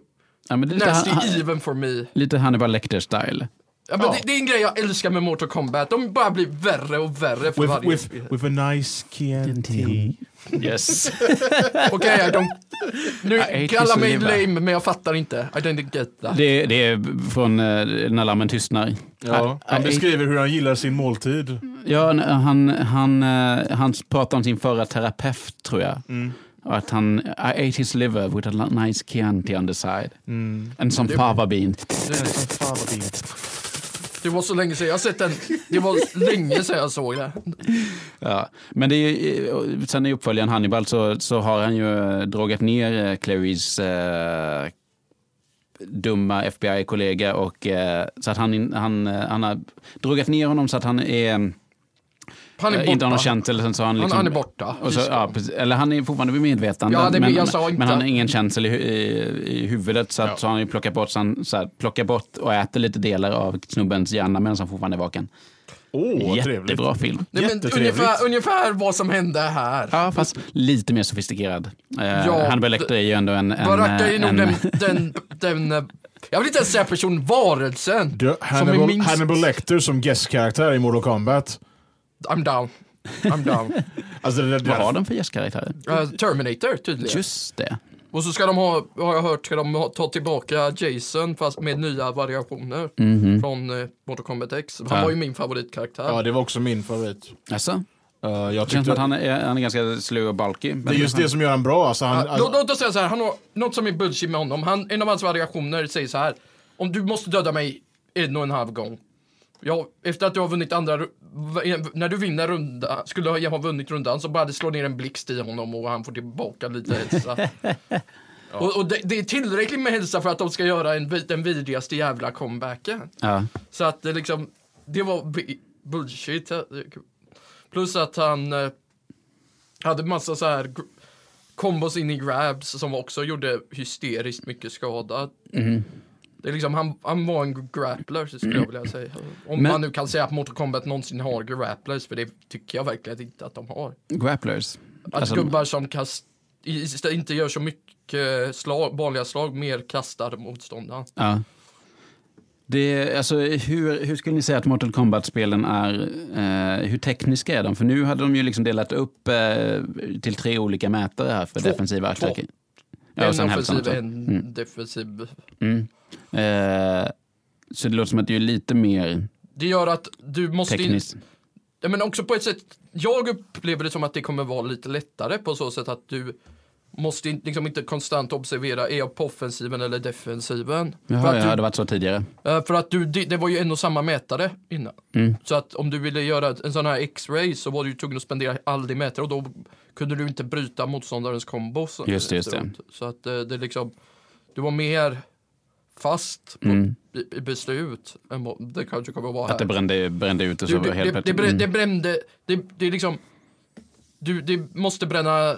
Speaker 1: Ja, men det är lite,
Speaker 2: nasty
Speaker 1: han, han,
Speaker 2: even for me.
Speaker 1: lite Hannibal Lecter-style.
Speaker 2: Ja, men
Speaker 4: Ja.
Speaker 2: det, det är en grej jag älskar med Mortal Kombat, de bara blir värre och värre för
Speaker 4: With,
Speaker 2: varje...
Speaker 4: with, with a nice Chianti.
Speaker 1: Yes.
Speaker 2: Okej,
Speaker 1: [LAUGHS]
Speaker 2: I don't...
Speaker 1: hate
Speaker 2: Nu, kalla
Speaker 1: this
Speaker 2: mig
Speaker 1: liver.
Speaker 2: lame men jag fattar inte. I didn't get that.
Speaker 1: Det, det är från eh, När lammen tystnar.
Speaker 4: Ja,
Speaker 1: I-
Speaker 4: han
Speaker 1: I-
Speaker 4: beskriver hur han gillar sin måltid.
Speaker 2: Mm.
Speaker 1: Ja, n- han, han, eh, han pratar om sin förra terapeut, tror jag.
Speaker 4: Mm.
Speaker 1: Och Att han, I ate his liver with a li- nice Chianti on the side.
Speaker 4: Mm.
Speaker 1: And some fava bean.
Speaker 2: Det var så länge sedan jag sett den. Det var länge sedan jag såg det.
Speaker 1: Ja. Men det är ju, eh, sen i uppföljaren Hannibal så, så har han ju eh, dragit ner eh, Clarys eh, dumma FBI-kollega och eh, så att han, han, eh, han har dragit ner honom så att han är,
Speaker 2: Han är
Speaker 1: eh, inte har någon
Speaker 2: borta.
Speaker 1: känsel. Sen så har han,
Speaker 2: Han,
Speaker 1: liksom,
Speaker 2: han är borta.
Speaker 1: Och så, ja, precis. eller han är fortfarande vid medvetande,
Speaker 2: Ja, det-
Speaker 1: men,
Speaker 2: jag sa inte
Speaker 1: men han har
Speaker 2: att-
Speaker 1: ingen känsel i, hu- i, i huvudet. Så, att, så han har ju plockat bort, så han, så här, plockar bort och äter lite delar av snubbens hjärna medan han fortfarande är vaken.
Speaker 4: Åh, oh, trevligt.
Speaker 1: Jättebra film.
Speaker 2: Nej, men
Speaker 4: Jättetrevligt.
Speaker 2: ungefär, ungefär vad som hände här.
Speaker 1: Ja, fast lite mer sofistikerad. Eh,
Speaker 2: Ja,
Speaker 1: Hannibal Lecter är ju ändå en... en
Speaker 2: Baraka är nog
Speaker 1: en,
Speaker 2: den, den, den, eh, jag vill inte ens säga person, varelsen.
Speaker 4: Du,
Speaker 2: som är
Speaker 4: Hannibal,
Speaker 2: minst,
Speaker 4: Hannibal Lecter som guestkaraktär i Mortal Kombat.
Speaker 2: I'm down. I'm down.
Speaker 4: Alltså, det,
Speaker 1: [LAUGHS]
Speaker 4: det,
Speaker 1: Vad har den för gästkaraktärer?
Speaker 2: Eh, Terminator tydligen.
Speaker 1: Just det.
Speaker 2: Och så ska de ha, har jag hört, ska de ha, ta tillbaka Jason fast med nya variationer. Från eh, Mortal Kombat X. Han
Speaker 1: Mhm. Ja.
Speaker 2: var ju min favoritkaraktär.
Speaker 4: Ja, det var också min favorit.
Speaker 1: Alltså,
Speaker 4: Eh, jag
Speaker 1: känns
Speaker 4: tyckte,
Speaker 1: som att han är, han är ganska slö och balkig.
Speaker 4: det är just det som gör han bra. Alltså, han,
Speaker 2: Ja,
Speaker 4: alltså,
Speaker 2: låt- Låt oss säga så här, han har något som är bullshit med honom. Han, en av hans variationer säger så här. Om du måste döda mig en och en halv gång. Ja, efter att du har vunnit andra ru- v- När du vinner runda, skulle jag ha vunnit rundan så bara det slår ner en blixt i honom och han får tillbaka lite hälsa. Och, och det, det är tillräckligt med hälsa för att de ska göra en, vi- den vidrigaste jävla comebacken.
Speaker 1: Ja.
Speaker 2: Så att det liksom, det var bi- bullshit. Eh, Plus att han eh, hade massa så här gr- kombos in i grabs som också gjorde hysteriskt mycket skada.
Speaker 1: Mm-hmm.
Speaker 2: Det är liksom, han, han var en grappler skulle jag vilja säga. Om
Speaker 1: Men-
Speaker 2: man nu kan säga att Mortal Kombat någonsin har grapplers, för det tycker jag verkligen inte att de har.
Speaker 1: Grapplers.
Speaker 2: Att
Speaker 1: Alltså,
Speaker 2: gubbar som kast, i- i- inte gör så mycket slag, vanliga slag, mer kastar motståndaren.
Speaker 1: Ja. Det, alltså, hur, hur skulle ni säga att Mortal Kombat-spelen är? Eh, hur tekniska är de? För nu hade de ju liksom delat upp eh, till tre olika mätare här för
Speaker 2: Två.
Speaker 1: defensiva
Speaker 2: Två.
Speaker 1: attacker. Ja, och
Speaker 2: En
Speaker 1: sen hälsan
Speaker 2: offensiv,
Speaker 1: också.
Speaker 2: en
Speaker 1: Mm.
Speaker 2: defensiv.
Speaker 1: Eh, så det låter som att det är lite mer
Speaker 2: Det gör att du måste... in-
Speaker 1: tekniskt.
Speaker 2: Ja, men också på ett sätt, jag upplever det som att det kommer vara lite lättare på så sätt att du måste in, liksom inte konstant observera, är jag på offensiven eller defensiven? för,
Speaker 1: Jaha,
Speaker 2: att
Speaker 1: ja, det
Speaker 2: du,
Speaker 1: hade varit så tidigare.
Speaker 2: eh, för att du, det, det var ju en och samma mätare innan.
Speaker 1: Mm.
Speaker 2: Så att om du ville göra en sån här X-ray så var du ju tvungen att spendera all din mätare och då kunde du inte bryta motståndarens kombo. så-
Speaker 1: Just det, just det.
Speaker 2: efteråt. Så att eh, det liksom, du var mer fast på, i, i beslut än vad det kanske kommer att vara här.
Speaker 1: Mm. Att det brände, brände ut och så
Speaker 2: Du, det,
Speaker 1: helt
Speaker 2: det, det,
Speaker 1: plötsligt.
Speaker 2: brä-
Speaker 1: Mm.
Speaker 2: det brände, det, det är liksom, du det måste bränna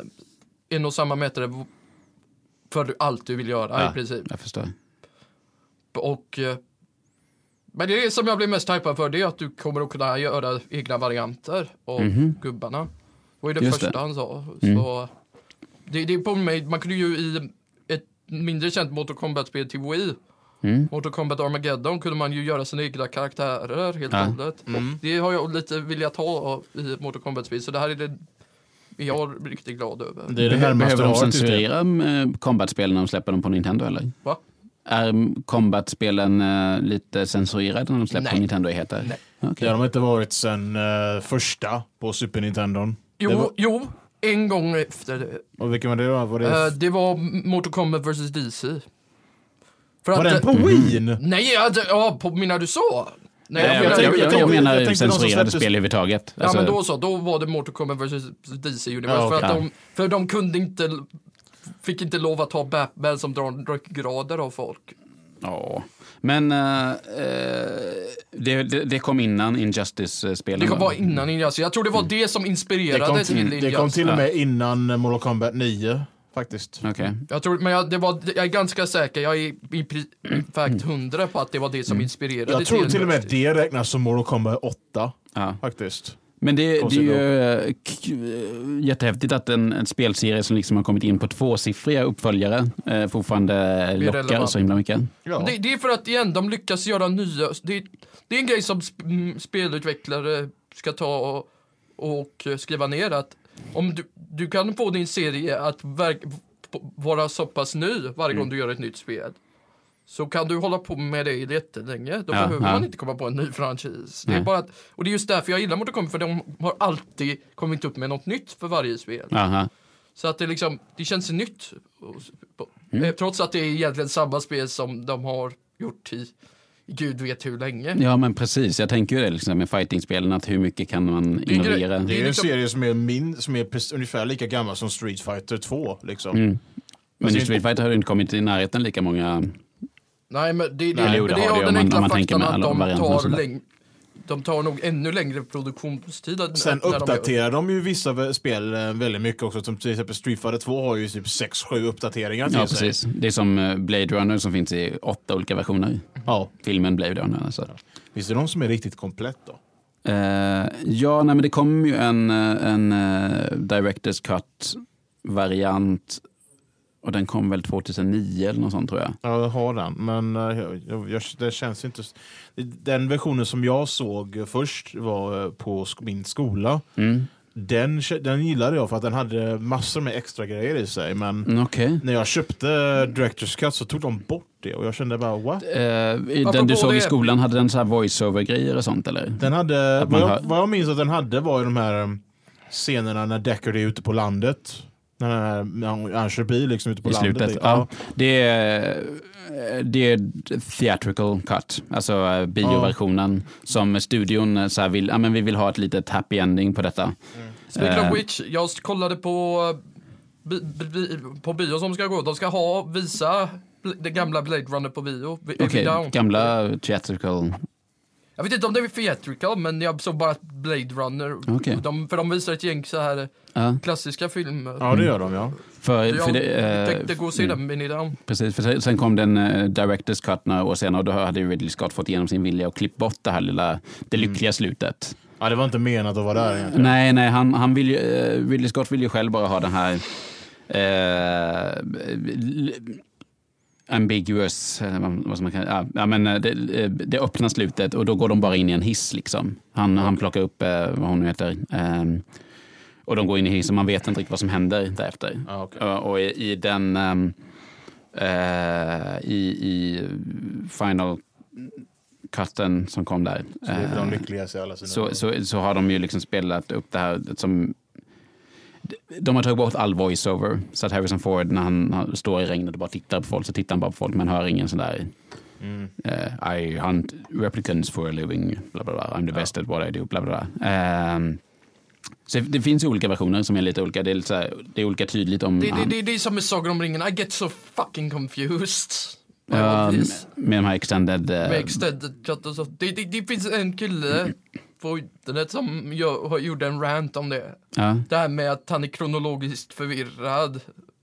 Speaker 2: en och samma mätare v- för allt du vill göra
Speaker 1: Ja,
Speaker 2: i princip.
Speaker 1: Jag förstår.
Speaker 2: Och, eh, men det som jag blir mest hypad för det är att du kommer att kunna göra egna varianter av gubbarna. Det var ju det
Speaker 1: Mhm. Just
Speaker 2: första
Speaker 1: det. Mm.
Speaker 2: han sa. Så, det, det påminner mig, man kunde ju i ett mindre känt Mortal Kombat-spel till Wii
Speaker 1: Mm.
Speaker 2: Mortal Kombat Armageddon kunde man ju göra sina egna karaktärer helt och
Speaker 1: Ja.
Speaker 2: hållet.
Speaker 4: Mm.
Speaker 2: Det har jag lite velat ha av- i Mortal Kombat-spel, så det här är det jag är riktigt glad över.
Speaker 4: det är det närmaste
Speaker 1: Behöver de
Speaker 4: jag har till det.
Speaker 1: censurera eh, Combat-spelen när de släpper dem på Nintendo eller?
Speaker 2: Va?
Speaker 1: Är Combat-spelen eh, lite censurerade när de släpps på
Speaker 2: Nej.
Speaker 1: Nintendo heter? Nej.
Speaker 4: Det har de inte varit sen eh, första på Super Nintendo.
Speaker 2: Jo,
Speaker 4: Det var,
Speaker 2: jo, en gång efter det.
Speaker 4: och vilken var det då? Var, det,
Speaker 2: Eh, det var Mortal Kombat vs DC. För
Speaker 4: var den
Speaker 2: eh,
Speaker 4: på
Speaker 1: Mm.
Speaker 4: Wien?
Speaker 2: Nej, ja, det- ja, på, menar du så? Nej,
Speaker 1: Jag,
Speaker 2: menar-
Speaker 1: jag, jag, jag,
Speaker 4: tänkte-
Speaker 1: menar
Speaker 4: jag tänkte de som
Speaker 1: censurerade
Speaker 4: släpptes-
Speaker 1: spel Alltså- överhuvudtaget.
Speaker 2: Ja men då så, då var det Mortal Kombat vs DC Universe
Speaker 4: Ja,
Speaker 2: för, att
Speaker 1: okej.
Speaker 2: de, för de kunde inte, fick inte lov att ha Batman som drar rökgrader av folk.
Speaker 1: Ja. Men eh, eh, det, det, det kom innan
Speaker 2: Det
Speaker 1: Injustice-spelen.
Speaker 2: var innan Injustice, jag tror det var det som
Speaker 4: Mm. Det
Speaker 2: inspirerade
Speaker 4: kom,
Speaker 2: till
Speaker 4: till, det kom
Speaker 2: Injustice.
Speaker 4: till och med innan eh, Mortal Kombat 9, faktiskt.
Speaker 1: Okej.
Speaker 2: Jag tror, men jag, det var, jag är ganska säker, jag är i, i pri- i fact hundra på att det var det som inspirerade
Speaker 4: Jag Mm. tror till och med
Speaker 2: Injustice.
Speaker 4: det räknas som Mortal Kombat 8,
Speaker 1: Ja.
Speaker 4: faktiskt.
Speaker 1: Men det, det är
Speaker 4: Konstigt
Speaker 1: ju eh, k- eh, jättehäftigt att en, en spelserie som liksom har kommit in på tvåsiffriga uppföljare eh, fortfarande
Speaker 2: Blir
Speaker 1: lockar
Speaker 2: relevant.
Speaker 1: så himla mycket.
Speaker 4: Ja.
Speaker 2: Det, det är för att igen, de lyckas göra nya. Det, det är en grej som sp mm, spelutvecklare ska ta och, och eh, skriva ner. Att om du, du kan få din serie att verk, p- vara så pass ny varje
Speaker 1: Mm.
Speaker 2: gång du gör ett nytt spel. Så kan du hålla på med det jättelänge.
Speaker 1: Ja,
Speaker 2: Då behöver
Speaker 1: ja.
Speaker 2: man inte komma på en ny franchise. Det är
Speaker 1: Nej.
Speaker 2: bara att, och det är just därför jag gillar Mortal Kombat, för de har alltid kommit upp med något nytt för varje spel.
Speaker 1: Aha.
Speaker 2: Så att det liksom, det känns nytt. Och- på-
Speaker 1: Mm.
Speaker 2: eh, Trots att det är egentligen samma spel som de har gjort i i gud vet hur länge.
Speaker 1: Ja, men precis. Jag tänker ju det liksom med fightingspelen, att hur mycket kan man
Speaker 2: är gre-
Speaker 1: ignorera?
Speaker 4: Det är
Speaker 2: Det är
Speaker 4: ju en
Speaker 2: liksom-
Speaker 4: serie som är, min, som är pres- ungefär lika gammal som Street Fighter 2. Liksom.
Speaker 1: Men i Street Fighter har det inte kommit i närheten lika många.
Speaker 2: Nej men det, det,
Speaker 1: Nej,
Speaker 2: men
Speaker 1: det
Speaker 2: det är
Speaker 1: har det,
Speaker 2: av
Speaker 1: om
Speaker 2: den
Speaker 1: man-
Speaker 2: enkla
Speaker 1: om man tänker
Speaker 2: faktan
Speaker 1: med
Speaker 2: att
Speaker 1: alla
Speaker 2: de
Speaker 1: varianter och
Speaker 2: tar,
Speaker 1: sådär.
Speaker 2: läng- de tar nog ännu längre produktionstid. än-
Speaker 4: Sen
Speaker 2: när de gör-
Speaker 4: uppdaterar de ju vissa v- spel eh, väldigt mycket också. Som till exempel Street Fighter 2 har ju typ 6-7 uppdateringar till
Speaker 1: Ja,
Speaker 4: sig.
Speaker 1: precis. Det är som eh, Blade Runner som finns i åtta olika versioner.
Speaker 4: Ja.
Speaker 1: Filmen Blade Runner alltså.
Speaker 4: Finns det någon som är riktigt komplett då?
Speaker 1: Eh, ja, nej, men det kom ju en, eh, en eh, Directors Cut-variant och den kom väl 2009 eller något sånt tror jag.
Speaker 4: Ja, jag har den. Men eh, jag, jag, jag, det känns inte... s- Den versionen som jag såg först var eh, på sk- min skola.
Speaker 1: Mm.
Speaker 4: Den, kä- den gillade jag för att den hade massor med extra grejer i sig. Men
Speaker 1: Mm, Okej.
Speaker 4: när jag köpte Directors Cut så tog de bort det och jag kände bara what?
Speaker 1: Eh, i den du
Speaker 2: Apropå
Speaker 1: såg i
Speaker 2: det-
Speaker 1: skolan, hade den så här voice-over-grejer och sånt eller?
Speaker 4: Den hade,
Speaker 1: man
Speaker 4: vad, jag,
Speaker 1: hör-
Speaker 4: vad jag minns att den hade var ju de här um, scenerna när Deckard är ute på landet. När han är- när han, han kör bil liksom ute på
Speaker 1: I
Speaker 4: landet.
Speaker 1: slutet. Ja. Det, är, det är theatrical cut, alltså eh, bioversionen som studion eh, så här vill, ja men vi vill ha ett litet happy ending på detta.
Speaker 2: Speaking
Speaker 1: Eh.
Speaker 2: of which, jag kollade på, eh, bi, bi, bi, på bio som ska gå. De ska ha, visa bl- det gamla Blade Runner på bio. Vi- Every
Speaker 1: Okej,
Speaker 2: Dawn.
Speaker 1: gamla theatrical.
Speaker 2: Jag vet inte om det är theatrical, men jag såg bara Blade Runner.
Speaker 1: Okej.
Speaker 2: De, för de visar ett gäng så här
Speaker 1: Ja.
Speaker 2: klassiska filmer.
Speaker 4: Ja,
Speaker 1: Mm.
Speaker 4: det gör de ja.
Speaker 1: För,
Speaker 2: jag
Speaker 1: för det, eh,
Speaker 2: tänkte gå och se den, men i den.
Speaker 1: Precis, för sen- sen kom den eh, Directors Cut några år senare och då hade ju Ridley Scott fått igenom sin vilja och klippt bort det här lilla, det lyckliga slutet.
Speaker 4: Ja, det var inte menat att vara där egentligen.
Speaker 1: Nej, nej, han, han vill ju, eh, Ridley Scott vill ju själv bara ha den här eh, l- ambiguous, eh, vad vad som man kan, ja, ja, men eh, det, eh, det öppna slutet och då går de bara in i en hiss liksom. Han, han plockar upp, eh, vad hon nu heter, ehm, och de går in i hissen, man vet inte riktigt vad som händer därefter.
Speaker 4: Ja, okej.
Speaker 1: och, och i, i den, ehm, eh, i, i final cutten som kom där.
Speaker 4: Så det är väl
Speaker 1: eh,
Speaker 4: de lyckligaste i alla sina
Speaker 1: så, så, så har de ju liksom spelat upp det här som... De har tagit bort all voiceover. Så att Harrison Ford när han, han står i regnet och bara tittar på folk så tittar han bara på folk men hör ingen sån där... eh, I hunt replicants for a living, bla bla bla. I'm the best at what I do, bla bla bla. Ehm, så det finns ju olika versioner som är lite olika. Det är, lite så här, det är olika tydligt om...
Speaker 2: Det, det,
Speaker 1: han-
Speaker 2: det, det är som med Sagan om ringen, I get so fucking confused. By all
Speaker 1: Ehm,
Speaker 2: this.
Speaker 1: med de här extended... eh,
Speaker 2: Med extended cut och så. Det, det, det finns en kille på internet som gör, har- gjorde en rant om det.
Speaker 1: ja.
Speaker 2: Det här med att han är kronologiskt förvirrad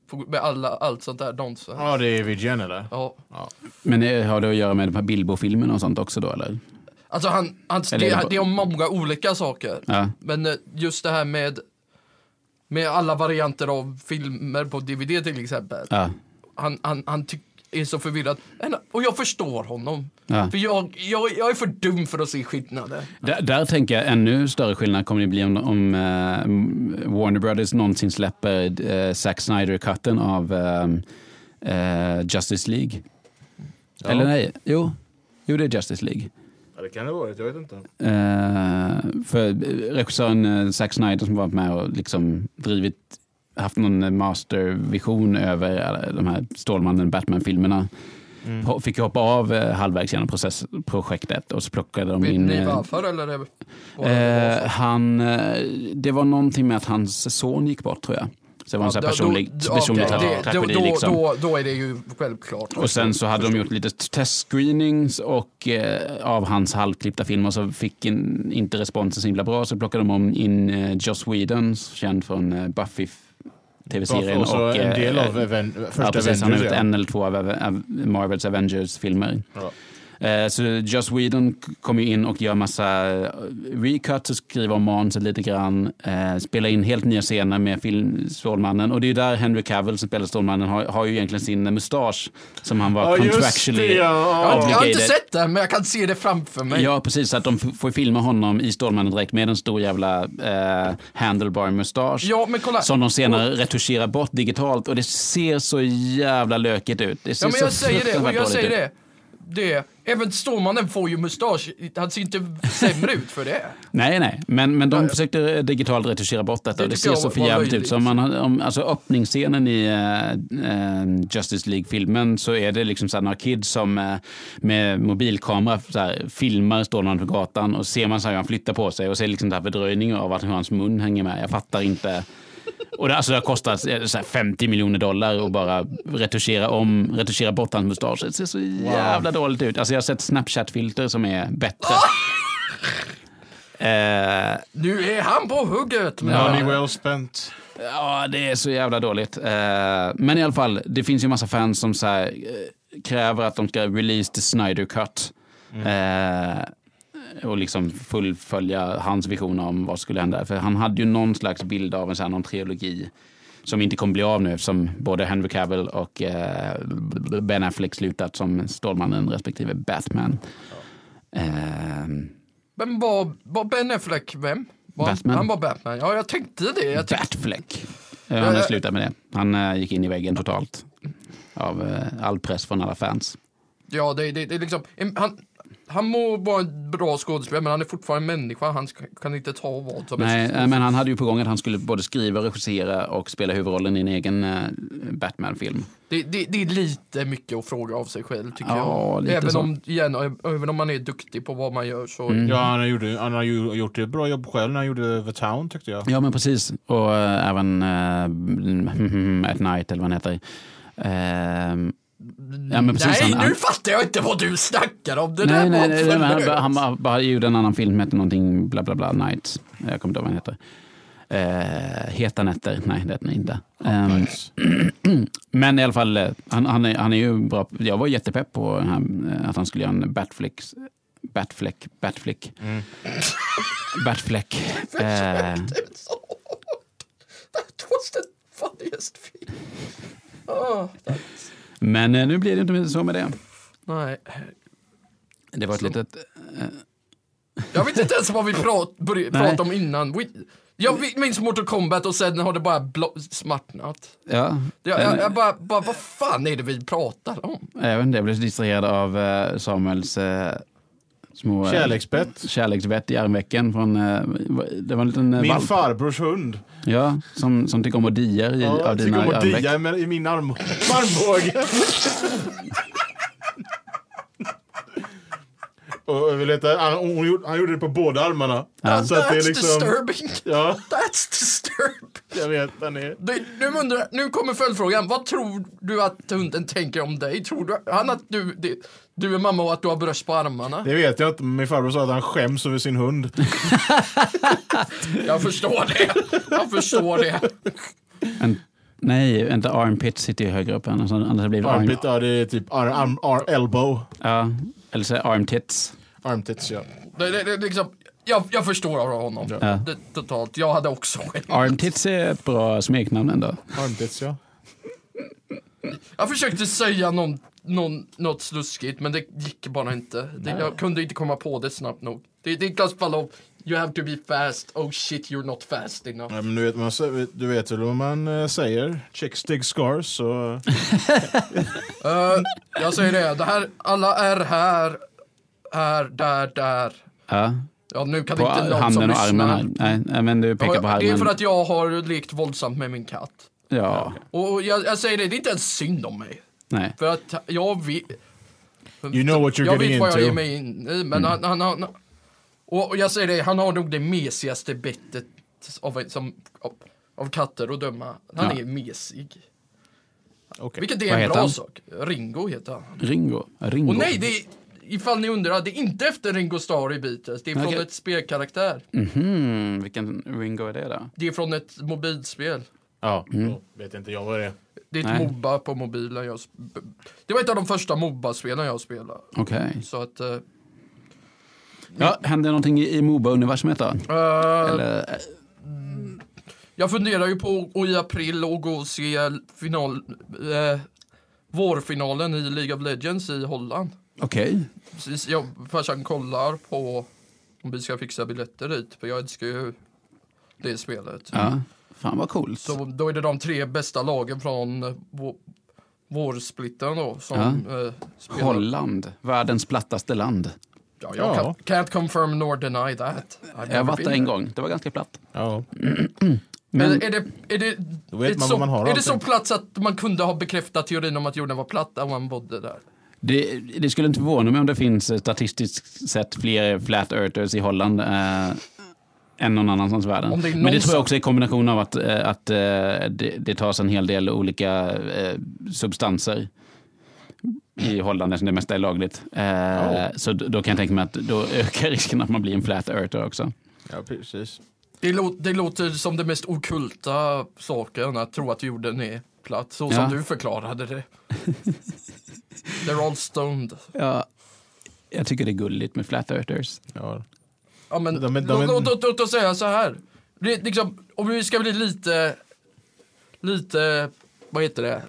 Speaker 2: på- med alla, allt sånt där nonsens.
Speaker 4: Ja, det är Vigen eller?
Speaker 2: Ja.
Speaker 1: Men eh, har det att göra med de här Bilbo-filmerna och sånt också då eller?
Speaker 2: Alltså han, han det,
Speaker 1: Eller är det
Speaker 2: det,
Speaker 1: bara-
Speaker 2: är om många olika saker.
Speaker 1: Ja.
Speaker 2: Men eh, just det här med, med alla varianter av filmer på DVD till exempel.
Speaker 1: Ja.
Speaker 2: Han, han, han tyck, är så förvirrad. En- Och jag förstår honom.
Speaker 1: Ja.
Speaker 2: För jag, jag, jag är för dum för att se skillnader.
Speaker 1: Där, där tänker jag ännu större skillnad kommer det bli om, om eh, Warner Brothers någonsin släpper eh, Zack Snyder-cutten av eh, eh, Justice League. Eller nej, jo. Jo, det är Justice League.
Speaker 4: Ja, det kan det vara, jag vet inte.
Speaker 1: Eh, för eh, regissören eh, Zack Snyder som varit med och liksom drivit, haft någon eh, mastervision över alla de här Stålmannen Batman-filmerna. Ho- Fick ju hoppa av eh, halvvägs genom process, projektet och så plockade de
Speaker 2: Vet
Speaker 1: in...
Speaker 2: ni
Speaker 1: eh,
Speaker 2: varför eller? Är det, vad det var
Speaker 1: Eh,
Speaker 2: för-
Speaker 1: han, eh, det var någonting med att hans son gick bort tror jag. Så det var en sån här
Speaker 2: Ja, då-
Speaker 1: personlig,
Speaker 2: då-
Speaker 1: personlig
Speaker 2: okej,
Speaker 1: tra-
Speaker 2: det-
Speaker 1: tragedi.
Speaker 2: då, då,
Speaker 1: liksom.
Speaker 2: då, då är det ju självklart.
Speaker 1: och sen så hade de gjort lite testscreenings och eh, av hans halvklippta filmer så fick in, inte responsen så himla bra så plockade de om in eh, Joss Whedon, känd från eh, Buffy tv-serien.
Speaker 4: Och så en
Speaker 1: eh,
Speaker 4: del av Aven- första
Speaker 1: ja, precis, han har
Speaker 4: Avengers.
Speaker 1: gjort
Speaker 4: ja.
Speaker 1: en eller två av Ave- Av- Marvels Avengers-filmer.
Speaker 4: Ja.
Speaker 1: Eh, Så Joss Whedon k- kommer ju in och gör massa eh, recuts, och skriver om manuset lite grann, eh, spelar in helt nya scener med film Stålmannen. Och det är ju där Henry Cavill som spelar Stålmannen har, har ju egentligen sin eh, mustasch som han var
Speaker 4: Ja, just
Speaker 1: contractually
Speaker 4: det, ja.
Speaker 2: Jag, jag har inte
Speaker 1: obligated.
Speaker 2: sett det, men jag kan se det framför mig.
Speaker 1: Ja, precis. Så att de f- får filma honom i Stålmannen direkt med en stor jävla eh, handlebar-mustasch.
Speaker 2: Ja, men kolla.
Speaker 1: Som de senare retuscherar bort digitalt och det ser så jävla lökigt ut. Det ser
Speaker 2: Ja men jag
Speaker 1: så
Speaker 2: säger det, och
Speaker 1: fruktansvärt
Speaker 2: jag
Speaker 1: dåligt typ.
Speaker 2: säger
Speaker 1: ut.
Speaker 2: det. det. Även Stålmannen får ju mustasch, han ser inte sämre ut för det.
Speaker 1: Nej, nej, men, men de försökte eh, digitalt retuschera bort detta
Speaker 2: Det
Speaker 1: och det
Speaker 2: tycker
Speaker 1: ser
Speaker 2: jag
Speaker 1: så
Speaker 2: var-
Speaker 1: för
Speaker 2: var
Speaker 1: jävligt ut.
Speaker 2: löjligt.
Speaker 1: Så om man, har- om, alltså öppningsscenen i eh, eh, Justice League-filmen så är det liksom så här några kids som eh, med mobilkamera så här, filmar Stålmannen på gatan och ser man så här hur han flyttar på sig och ser liksom så här fördröjningar av att hur hans mun hänger med. Jag fattar inte. Och det, alltså, det har kostat eh, så här 50 miljoner dollar att bara retuschera om, retuschera bort hans mustasch. Det ser så jävla dåligt ut. Alltså jag har sett Snapchat-filter som är
Speaker 2: [LAUGHS]
Speaker 1: bättre. Eh,
Speaker 2: Nu är han på hugget! Men
Speaker 4: Money well spent.
Speaker 1: Ja, det är så jävla dåligt. Eh, men i alla fall, det finns ju massa fans som så här, eh, kräver att de ska release the Snyder Cut. Eh, och liksom fullfölja hans vision om vad skulle hända. För han hade ju någon slags bild av en sån här, någon trilogi som inte kommer bli av nu eftersom både Henry Cavill och eh, Ben Affleck slutat som Stålmannen respektive Batman. Eh,
Speaker 2: Men var, var Ben Affleck vem? Var han-
Speaker 1: Batman.
Speaker 2: Han var Batman, ja jag tänkte det. Jag tänkte,
Speaker 1: Batfleck. Eh, Han har
Speaker 2: jag-
Speaker 1: slutat med det. Han eh, gick in i väggen totalt av eh, all press från alla fans.
Speaker 2: ja det, det, det är liksom, en- han, han må vara en bra skådespelare men han är fortfarande en människa, han ska, kan inte ta vad som
Speaker 1: Nej,
Speaker 2: helst.
Speaker 1: eh, men han hade ju på gång att han skulle både skriva, regissera och spela huvudrollen i en egen eh, Batman-film.
Speaker 2: Det, det, det är lite mycket att fråga av sig själv tycker
Speaker 1: Ja,
Speaker 2: jag.
Speaker 1: lite
Speaker 2: Även
Speaker 1: så. Mm.
Speaker 2: om, igen, även om man är duktig på vad man gör så
Speaker 4: Ja, han har, gjort, han har ju gjort ett bra jobb själv när han gjorde The Town tyckte jag.
Speaker 1: Ja, men precis. Och eh, även eh, [LAUGHS] At Night, eller vad han heter. Eh, Ja, men precis.
Speaker 2: Nej,
Speaker 1: han- han-
Speaker 2: nu fattar jag inte vad du snackar om. Det
Speaker 1: Nej,
Speaker 2: där
Speaker 1: nej,
Speaker 2: var
Speaker 1: nej,
Speaker 2: för
Speaker 1: nej men han,
Speaker 2: löst.
Speaker 1: han, han, han gjorde en annan film, hette någonting bla bla bla, Night. Jag kommer inte ihåg vad den heter. Eh, heta nätter, nej det är den inte. Ehm, [CLEARS THROAT] men i alla fall, eh, han, han, är, han är ju bra. Jag var jättepepp på den här, eh, att han skulle göra en Batflick. Batfleck, Batflick.
Speaker 2: Mm. [LAUGHS]
Speaker 1: Batfleck. Eh,
Speaker 2: That was the funniest film. Ah,
Speaker 1: men eh, nu blir det inte så med det.
Speaker 2: nej.
Speaker 1: Det var ett litet...
Speaker 2: Jag vet inte ens vad vi prat, börj-
Speaker 1: Nej.
Speaker 2: pratade om innan. Vi, jag vi- minns Mortal Kombat och sen har det bara blo- smartnat.
Speaker 1: Ja,
Speaker 2: Jag, jag,
Speaker 1: eh,
Speaker 2: jag bara, bara, vad fan är det vi pratar om?
Speaker 1: även det blev så distraherad av eh, Samuels eh, små... eh,
Speaker 4: Kärleksbett.
Speaker 1: kärleksvett i armvecken från, eh, det var en liten eh,
Speaker 4: Min
Speaker 1: valp.
Speaker 4: farbrors hund.
Speaker 1: Ja, som, som tycker om att dia i,
Speaker 4: Ja,
Speaker 1: av
Speaker 4: jag tycker
Speaker 1: dina
Speaker 4: om att
Speaker 1: armveck.
Speaker 4: dia med, i min arm, [LAUGHS] armbåge. [LAUGHS] och, vill du veta, han, hon, gjorde- han gjorde det på båda armarna. Så att det är
Speaker 2: That's
Speaker 4: liksom...
Speaker 2: disturbing.
Speaker 4: Ja,
Speaker 2: That's disturbing.
Speaker 4: jag vet. Han är...
Speaker 2: Du, nu, undrar, nu kommer följdfrågan. Vad tror du att hunden tänker om dig? Tror du, han att du, det, du är mamma och att du har bröst på armarna?
Speaker 4: Det vet jag inte, men min farbror sa att han skäms över sin hund.
Speaker 2: Jag förstår det. Jag förstår det.
Speaker 1: En, nej, inte armpit sitter ju högre upp. Annars, annars blir det
Speaker 4: Armpit,
Speaker 1: arm,
Speaker 4: ja det är typ arm, arm, arm, elbow.
Speaker 1: ja, eller så armtits.
Speaker 4: Armtits, ja.
Speaker 2: det, det, det liksom, jag, jag förstår av honom.
Speaker 1: Ja.
Speaker 2: Det, totalt. Jag hade också skämt.
Speaker 1: Armtits är ett bra smeknamn ändå.
Speaker 4: Armtits, ja.
Speaker 2: Jag försökte säga någon, någon, något sluskigt men det gick bara inte. Det, jag kunde inte komma på det snabbt nog. Det, det är Niklas Pallov. You have to be fast. Oh shit, you're not fast enough.
Speaker 4: ja men du vet, man, sä- du vet väl vad man eh, säger? Check stick scars, så...
Speaker 2: Eh, jag säger det, det här, alla är här, här, där, där.
Speaker 1: Ja,
Speaker 2: Ja, nu kan
Speaker 1: på
Speaker 2: inte någon som
Speaker 1: handen och
Speaker 2: lyssnar.
Speaker 1: armen. Här. Nej, nej, men du pekar på
Speaker 2: Ja, Det är för
Speaker 1: armen.
Speaker 2: att jag har lekt våldsamt med min katt.
Speaker 1: Ja,
Speaker 2: Och jag, jag säger det, det är inte ens synd om mig.
Speaker 1: nej.
Speaker 2: För att jag vet...
Speaker 4: You know what you're
Speaker 2: jag
Speaker 4: getting
Speaker 2: vet vad jag ger
Speaker 4: into.
Speaker 2: mig in i,
Speaker 1: Mm.
Speaker 2: men han, han, han, och, och jag säger det, han har nog det mesigaste bettet av, som, av, av katter att döma. Han
Speaker 1: Ja.
Speaker 2: är mesig.
Speaker 4: Okej.
Speaker 2: Vilket är
Speaker 1: Vad
Speaker 2: en
Speaker 1: heter
Speaker 2: bra
Speaker 1: han?
Speaker 2: sak. Ringo heter han.
Speaker 1: Ringo. Ringo.
Speaker 2: Och nej, det är, ifall ni undrar, det är inte efter Ringo Starr i Beatles. Det är från
Speaker 1: Okej. Mm.
Speaker 2: ett spelkaraktär.
Speaker 1: Mhm, vilken Ringo är det då?
Speaker 2: Det är från ett mobilspel.
Speaker 4: Ja. Då Mm. Vet inte jag vad det är.
Speaker 2: Det är ett
Speaker 1: Nej.
Speaker 2: Moba på mobilen. Jag sp- det var ett av de första Moba-spelen jag spelade.
Speaker 1: Okej.
Speaker 2: Så att... eh,
Speaker 1: Ja, hände någonting i, i Moba-universumet då?
Speaker 2: eh,
Speaker 1: Eller, eh,
Speaker 2: Jag funderar ju på att i april och gå och se final, eh, vårfinalen i League of Legends i Holland.
Speaker 1: Okej.
Speaker 2: Precis, jag farsan kollar på om vi ska fixa biljetter dit, för jag älskar ju det spelet.
Speaker 1: Ja. Fan vad coolt.
Speaker 2: Så då är det de tre bästa lagen från eh, vå- vårsplitten då som eh, spelar.
Speaker 1: Holland, världens plattaste land.
Speaker 2: Ja, jag
Speaker 4: Ja.
Speaker 2: Kan, can't confirm nor deny that. I've
Speaker 1: Jag har
Speaker 2: never
Speaker 1: varit
Speaker 2: been
Speaker 1: där en gång, det var ganska platt.
Speaker 4: Ja.
Speaker 2: Men är det, är det,
Speaker 4: Då vet
Speaker 2: ett
Speaker 4: man
Speaker 2: så,
Speaker 4: vad man har
Speaker 2: är det
Speaker 4: alltid.
Speaker 2: så plats att man kunde ha bekräftat teorin om att jorden var platt där man bodde där?
Speaker 1: Det, det skulle inte förvåna mig om det finns eh, statistiskt sett fler flat earthers i Holland eh, än någon annanstans i världen.
Speaker 2: Om det är någon
Speaker 1: Men det tror
Speaker 2: som-
Speaker 1: jag också är en kombination av att, eh, att eh, det, det tas en hel del olika eh, substanser i Holland eftersom det mesta är lagligt. Eh, Så d- då kan jag tänka mig att då ökar [LAUGHS] risken att man blir en flat earther också.
Speaker 4: ja, precis.
Speaker 2: Det, lå- det låter som den mest okulta saken, att tro att jorden är platt, så
Speaker 1: Ja.
Speaker 2: som du förklarade
Speaker 4: [LAUGHS]
Speaker 2: det. They're all stoned.
Speaker 1: Ja, jag tycker det är gulligt med flat earthers.
Speaker 4: Ja.
Speaker 2: Ja, men,
Speaker 4: De är- de är-
Speaker 2: låt, låt, låt, låt oss säga så här. Det, är liksom, om vi ska bli lite, lite, vad heter det,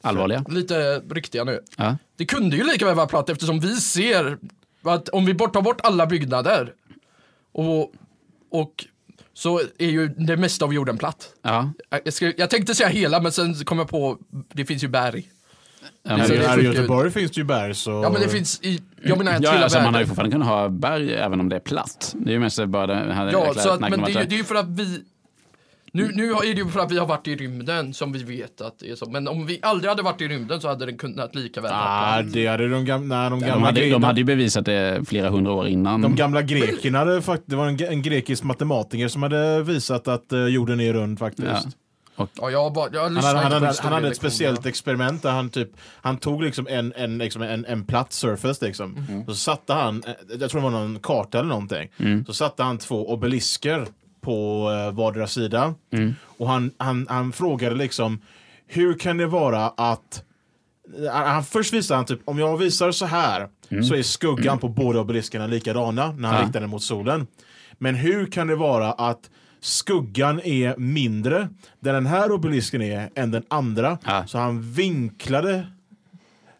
Speaker 1: Allvarliga.
Speaker 2: lite riktiga nu.
Speaker 1: Ja.
Speaker 2: Det kunde ju lika väl vara platt eftersom vi ser att om vi bort- tar bort alla byggnader och, och så är ju det mesta av jorden platt.
Speaker 1: Ja.
Speaker 2: Jag, ska, jag tänkte säga hela men sen kom jag på, det finns ju berg.
Speaker 1: Ja,
Speaker 2: Så
Speaker 4: Här,
Speaker 2: det
Speaker 4: i-
Speaker 2: är
Speaker 4: här i
Speaker 2: sjukt ut.
Speaker 4: Göteborg finns det ju berg så...
Speaker 2: Ja men det finns i, jag menar
Speaker 1: Ja,
Speaker 2: hela
Speaker 1: alltså man har ju
Speaker 2: världen.
Speaker 1: fortfarande kunnat ha berg även om det är platt. Det är ju mest bara den här
Speaker 2: Ja,
Speaker 1: jäkla
Speaker 2: så att,
Speaker 1: snacken
Speaker 2: men
Speaker 1: om
Speaker 2: det
Speaker 1: att
Speaker 2: är ju det är ju för att vi, nu, nu är det ju för att vi har varit i rymden som vi vet att det är så. Men om vi aldrig hade varit i rymden så hade den kunnat lika väl vara platt.
Speaker 4: Ah, det hade de gamla... Nej, de
Speaker 1: de,
Speaker 4: gamla,
Speaker 1: hade,
Speaker 4: gre-
Speaker 1: de hade ju bevisat det flera hundra år innan.
Speaker 4: de gamla grekerna hade faktiskt... Det var en, ge- en grekisk matematiker som hade visat att eh, jorden är rund faktiskt.
Speaker 1: Ja.
Speaker 2: Ja, jag, har bara, jag
Speaker 4: Han hade,
Speaker 2: lyssnar
Speaker 4: han,
Speaker 2: inte på liksom.
Speaker 4: hade, han hade ett
Speaker 2: historielektionerna.
Speaker 4: speciellt experiment där han typ Han tog liksom en, en, liksom en, en platt surface liksom.
Speaker 2: Mm.
Speaker 4: Och så satte han, eh, jag tror det var någon karta eller någonting. Så satte han två obelisker på eh, vardera sida.
Speaker 2: Mm.
Speaker 4: Och han, han, han frågade liksom Hur kan det vara att han, han först visar han typ, om jag visar så här så är skuggan på båda obeliskerna likadana när han
Speaker 1: Mm. Ja.
Speaker 4: riktar den mot solen. Men hur kan det vara att skuggan är mindre där den här obelisken är än den andra?
Speaker 1: Ja.
Speaker 4: Så han vinklade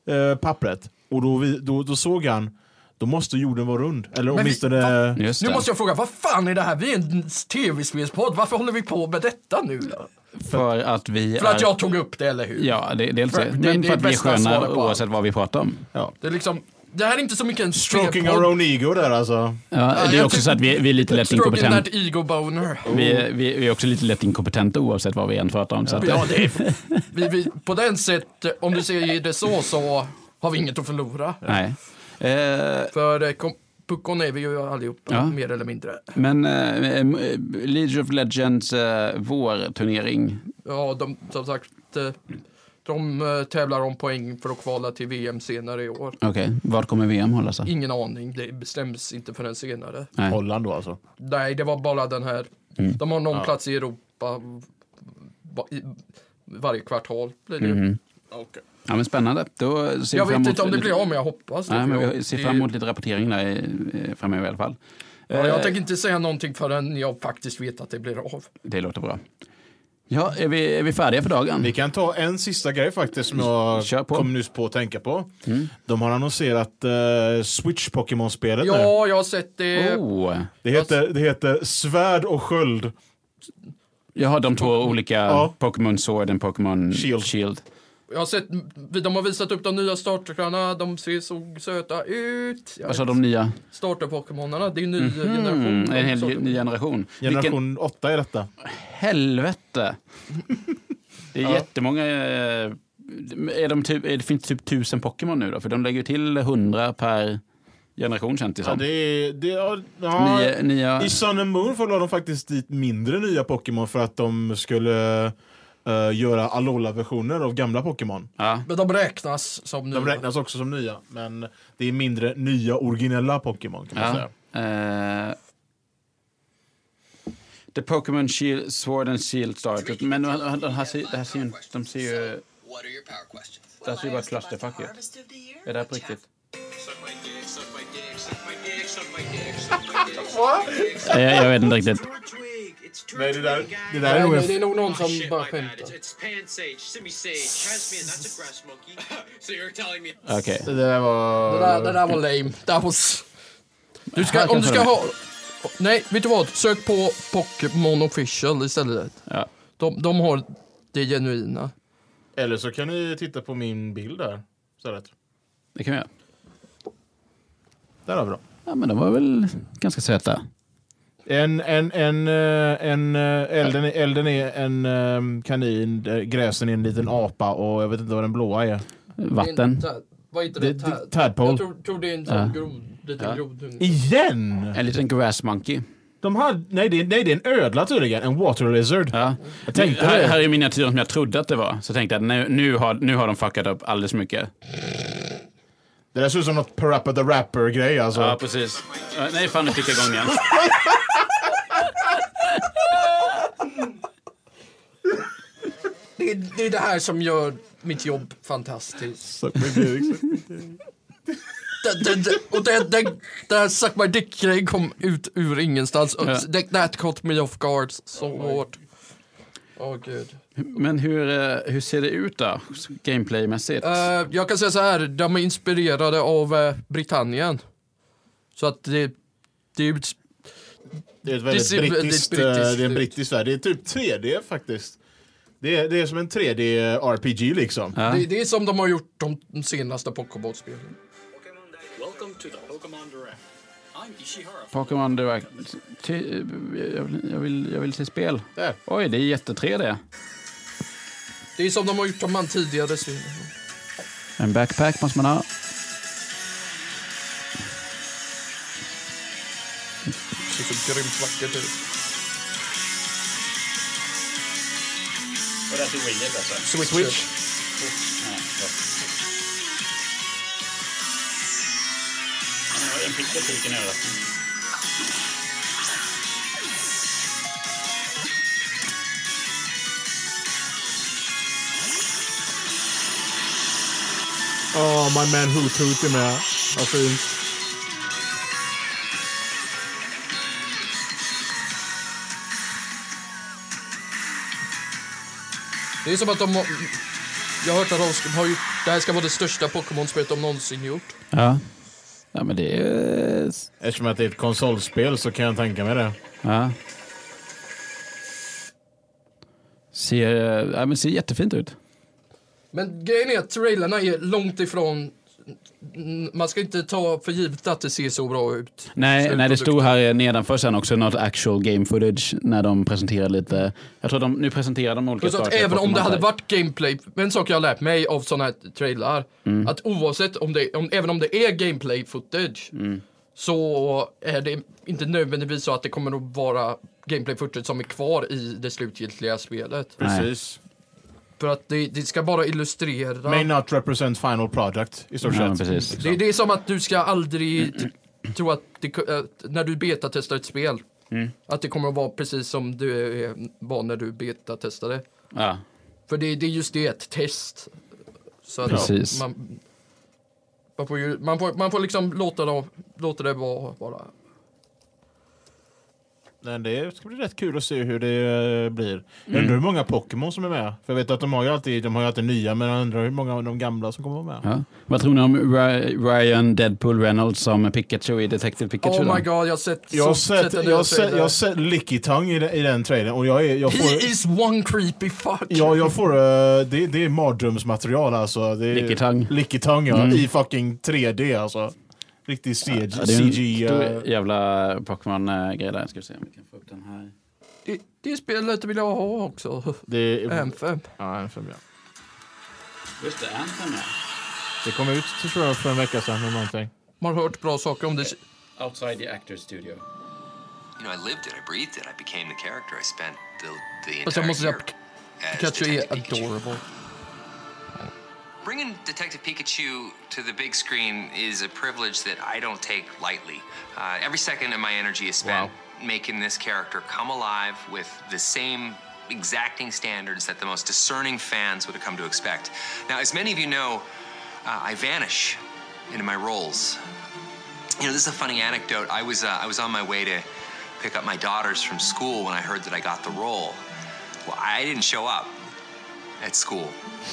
Speaker 4: eh, pappret och då, vi, då, då såg han då måste jorden vara rund. Eller
Speaker 2: vi-
Speaker 4: åtminstone...
Speaker 1: Just
Speaker 2: Nu
Speaker 1: det.
Speaker 2: måste jag fråga, vad fan är det här? Vi är en tv-spelspodd, varför håller vi på med detta nu då?
Speaker 1: För att vi
Speaker 2: För att jag tog upp det, eller hur?
Speaker 1: Ja, det, dels
Speaker 2: För-
Speaker 1: det.
Speaker 2: det-
Speaker 1: Men
Speaker 2: det
Speaker 1: för
Speaker 2: är
Speaker 1: att vi är
Speaker 2: bästa svaret
Speaker 1: sköna
Speaker 2: på allt.
Speaker 1: oavsett vad vi pratar om.
Speaker 4: ja.
Speaker 2: Det är liksom, det här är inte så mycket en
Speaker 4: Stroking
Speaker 2: spelpodd.
Speaker 4: our own ego där alltså.
Speaker 1: Ja, det är
Speaker 2: jag
Speaker 1: också
Speaker 2: tyck-
Speaker 1: så att vi, vi är lite lätt
Speaker 2: Stroking that
Speaker 1: inkompetenta.
Speaker 2: ego boner.
Speaker 1: Vi, är- vi, vi är också lite lätt inkompetenta oavsett vad vi än pratar om. Så att,
Speaker 2: Ja, det är, vi, vi, på den sätt, om du säger det så, så har vi inget att förlora.
Speaker 1: nej. Eh,
Speaker 2: För eh, kom, puckon är vi ju allihopa,
Speaker 1: Ja.
Speaker 2: mer eller mindre.
Speaker 1: men eh, eh, League of Legends eh, vårturnering.
Speaker 2: Ja, de, som sagt, eh, de eh, tävlar om poäng för att kvala till VM senare i år.
Speaker 1: Okej, var kommer VM hållas? då?
Speaker 2: Ingen aning, det bestäms inte förrän senare.
Speaker 1: Nej.
Speaker 4: Holland då alltså.
Speaker 2: Nej, det var bara den här.
Speaker 4: Mm.
Speaker 2: De har någon plats i Europa va- i- varje kvartal. Blir det. ju.
Speaker 4: Mm-hmm.
Speaker 1: Ja, men spännande. Då ser
Speaker 2: Jag
Speaker 1: vi fram emot
Speaker 2: vet inte om det
Speaker 1: lite-
Speaker 2: blir av, men jag hoppas det.
Speaker 1: Nej,
Speaker 2: för
Speaker 1: men
Speaker 2: jag-
Speaker 1: vi ser
Speaker 2: det-
Speaker 1: fram emot lite rapportering där i- eh, framöver i alla fall.
Speaker 2: Ja, jag tänker inte säga någonting förrän jag faktiskt vet att det blir av.
Speaker 1: Det låter bra. Ja, är vi, är vi färdiga för dagen?
Speaker 4: Vi kan ta en sista grej faktiskt som jag
Speaker 1: Kör på. Mm.
Speaker 4: kom nyss på att tänka på. De har annonserat eh, Switch-Pokémon-spelet nu.
Speaker 2: Ja, jag har sett det.
Speaker 1: Oh.
Speaker 4: Det heter, det heter Svärd och Sköld.
Speaker 1: Jag har de två olika,
Speaker 4: Ja.
Speaker 1: Pokémon Sword och Pokémon
Speaker 4: Shield.
Speaker 1: Shield.
Speaker 2: Jag har sett, de har visat upp de nya starterstjärnorna, de ser så söta ut. Jag
Speaker 1: Vad sa
Speaker 2: vet,
Speaker 1: de nya?
Speaker 2: Starterpokémonerna, det är en ny generation.
Speaker 1: Mm, en hel
Speaker 2: Sorter-
Speaker 1: ny generation. Vilken
Speaker 4: Generation 8 är detta.
Speaker 1: helvete! Det är jättemånga... eh, Är de typ, är det finns typ tusen Pokémon nu då? För de lägger ju till hundra per generation känns det
Speaker 4: Ja,
Speaker 1: som.
Speaker 4: det är, det är, ja,
Speaker 1: Nya, nya...
Speaker 4: I Sun and Moon la de faktiskt dit mindre nya Pokémon för att de skulle eh, göra Alola-versioner av gamla Pokémon.
Speaker 1: Ja.
Speaker 2: Men de räknas som nu.
Speaker 4: De räknas också som nya, men det är mindre nya originella Pokémon kan man
Speaker 1: Ja.
Speaker 4: säga.
Speaker 1: Eh, The Pokémon Shield, Sword and Shield startet. Men de, de, de, här ser, det här ser ju, de ser ju...
Speaker 7: What are your power questions?
Speaker 1: Det här ser ju bara clusterfuck ut. Är det här på riktigt?
Speaker 7: Suck my dick, suck my dick, suck my dick, suck my dick, suck my dick. What?
Speaker 1: Jag, jag vet inte riktigt.
Speaker 3: Nej, det där,
Speaker 4: Det där är nog
Speaker 2: Nej,
Speaker 4: en...
Speaker 2: det är nog någon
Speaker 7: Oh,
Speaker 2: som
Speaker 7: shit,
Speaker 2: bara
Speaker 7: my bad. It's,
Speaker 2: skämtar.
Speaker 7: it's Pan Sage, Simi Sage, Tasman, that's a grass monkey. [LAUGHS] so you're telling me.
Speaker 1: Okej.
Speaker 4: Det där
Speaker 2: Det där,
Speaker 4: var...
Speaker 2: det där var lame. That was... Du ska,
Speaker 1: Här kan
Speaker 2: om du ska
Speaker 1: jag
Speaker 2: ha... Nej, vet du vad? Sök på Pokémon official istället.
Speaker 1: Ja.
Speaker 2: De, de har det genuina.
Speaker 4: Eller så kan ni titta på min bild där. Så rätt.
Speaker 1: Det kan vi göra.
Speaker 4: Där har vi dem.
Speaker 1: Ja, men de var väl ganska söta.
Speaker 4: En, en, en, eh, en, eh, elden, är- elden är en eh, kanin, eh, gräsen är en liten apa och jag vet inte vad den blåa är.
Speaker 1: Vatten.
Speaker 2: Det är en tä- Vad heter det?
Speaker 4: Det- det-
Speaker 2: Tä-
Speaker 4: tadpole.
Speaker 2: Jag tror, tror det är en sån grod, liten grodunge.
Speaker 4: Igen?
Speaker 1: En liten grass monkey.
Speaker 4: De hade, nej, det, är- nej, det är en ödla tydligen. En water lizard.
Speaker 1: Ja.
Speaker 4: Jag tänkte
Speaker 1: här,
Speaker 4: det.
Speaker 1: här är miniatyren som jag trodde att det var. Så tänkte jag att nu, nu, har, nu har de fuckat upp alldeles mycket.
Speaker 4: Det där ser ut som något Parappa the Rapper-grej alltså.
Speaker 1: Ja, precis. Ja, Nej, fan, nu fick jag igång [LAUGHS] igen.
Speaker 2: Det, är- det är det här som gör mitt jobb fantastiskt.
Speaker 4: liksom-
Speaker 2: Det, det, det, och det, det, det här Suck My Dick-grejen kom ut ur ingenstans. Och
Speaker 1: Ja.
Speaker 2: That, that caught me off guard så hårt. Åh gud.
Speaker 1: Men hur, eh, hur ser det ut då, gameplaymässigt?
Speaker 2: Eh, jag kan säga så här, de är inspirerade av eh, Britannien. Så att det, det är ju ett-
Speaker 4: Det är ett
Speaker 2: Det
Speaker 4: väldigt
Speaker 2: ser väldigt
Speaker 4: brittiskt, eh,
Speaker 2: brittiskt
Speaker 4: det är en
Speaker 2: ut.
Speaker 4: brittisk värld. Det är typ 3D faktiskt. Det är, det är som en 3D-RPG liksom.
Speaker 1: Ja.
Speaker 2: det, det är som de har gjort de, de senaste Pokémon-spelen.
Speaker 7: Welcome to the Pokemon Direct. I'm Ishihara.
Speaker 1: Pokémon Direct. Ty, jag, vill, jag, vill, jag vill se spel.
Speaker 4: Där.
Speaker 1: Oj, det är jätte-3D.
Speaker 2: Det är som de har gjort de här tidigare spelen.
Speaker 1: En backpack måste man ha.
Speaker 2: Det ser så grymt vackert ut.
Speaker 8: Och det är till Wii alltså.
Speaker 2: Switch.
Speaker 8: En pizza till vilken överraskning.
Speaker 4: Åh, Oh, my man Hoot Hoot är med. Vad fint.
Speaker 2: Det är som att de har... Jag har hört att de ska, har gjort, det här ska vara det största Pokémon-spelet de någonsin gjort.
Speaker 1: Ja. Ja, men det är...
Speaker 4: Eftersom att det är ett konsolspel så kan jag tänka mig det.
Speaker 1: Ja. Ser, ja, men ser jättefint ut.
Speaker 2: Men grejen är att trailerna är långt ifrån... n- Man ska inte ta för givet att det ser så bra ut.
Speaker 1: Nej, nej, det
Speaker 2: Slutprodukten.
Speaker 1: stod här nedanför sen också något actual game footage när de presenterade lite. Jag tror de nu presenterar de olika
Speaker 2: Plus att
Speaker 1: starter,
Speaker 2: även om
Speaker 1: Pokémon
Speaker 2: det hade
Speaker 1: Direct.
Speaker 2: varit gameplay, en sak jag har lärt mig av såna här trailrar, att oavsett om det, om, även om det är gameplay footage, så är det inte nödvändigtvis så att det kommer att vara gameplay footage som är kvar i det slutgiltiga spelet.
Speaker 4: Precis.
Speaker 2: För att det, det ska bara illustrera.
Speaker 4: May not represent final product i stort
Speaker 1: Ja, men
Speaker 4: sett.
Speaker 1: precis.
Speaker 2: det, det är som att du ska aldrig t- tro att, det, ko- att när du betatestar ett spel, att det kommer att vara precis som det eh, var när du betatestade.
Speaker 1: Ja.
Speaker 2: För det, det är just det, ett test. Så att
Speaker 1: Precis.
Speaker 2: Man, man, får ju, man, får, man får liksom låta det, låta det vara bara.
Speaker 4: Men det ska bli rätt kul att se hur det eh, blir. Jag
Speaker 1: Mm.
Speaker 4: undrar hur många Pokémon som är med. För jag vet att de har ju alltid, de har ju alltid nya, men jag undrar hur många av de gamla som kommer vara med.
Speaker 1: Ja. Vad tror ni om Ry- Ryan Deadpool Reynolds som Pikachu i Detective Pikachu?
Speaker 2: Oh
Speaker 1: då?
Speaker 2: my god, jag har sett...
Speaker 4: Jag har
Speaker 2: så-
Speaker 4: sett,
Speaker 2: den
Speaker 4: jag har
Speaker 2: där
Speaker 4: sett,
Speaker 2: trailern.
Speaker 4: jag har sett Licky Tongue i, den- i den trailern och jag är, jag får...
Speaker 2: He is one creepy fuck!
Speaker 4: Ja, jag får, eh, det, det är mardrömsmaterial alltså. Det är-
Speaker 1: Licky Tongue. Mm.
Speaker 4: Licky Tongue, ja. I fucking 3D alltså. Riktig CG.
Speaker 1: Ja, det är en
Speaker 4: CG eh,
Speaker 1: stor jävla Pokémon-grej där. Ska vi se om vi kan få upp den här.
Speaker 2: Det, det spelet vill jag ha också.
Speaker 4: det, är,
Speaker 2: M5.
Speaker 4: ja, en fem, ja.
Speaker 1: Just det, Anthem
Speaker 4: det kom ut tror jag för en vecka sedan eller någonting.
Speaker 2: Man har hört bra saker om det.
Speaker 1: Outside the Actors Studio.
Speaker 9: You know, I lived it, I breathed it, I became the character. I spent the, the
Speaker 2: Fast jag
Speaker 9: entire
Speaker 2: måste säga
Speaker 9: year
Speaker 2: Pik-
Speaker 9: as
Speaker 2: Pikachu är
Speaker 9: Detective Pikachu.
Speaker 2: adorable.
Speaker 9: Bringing Detective Pikachu to the big screen is a privilege that I don't take lightly. Uh, every second of my energy is spent making this character come alive with the same exacting standards that the most discerning fans would have come to expect. Now, as many of you know, uh, I vanish into my roles. You know, this is a funny anecdote. I was uh, I was on my way to pick up my daughters from school when I heard that I got the role. Well, I didn't show up at school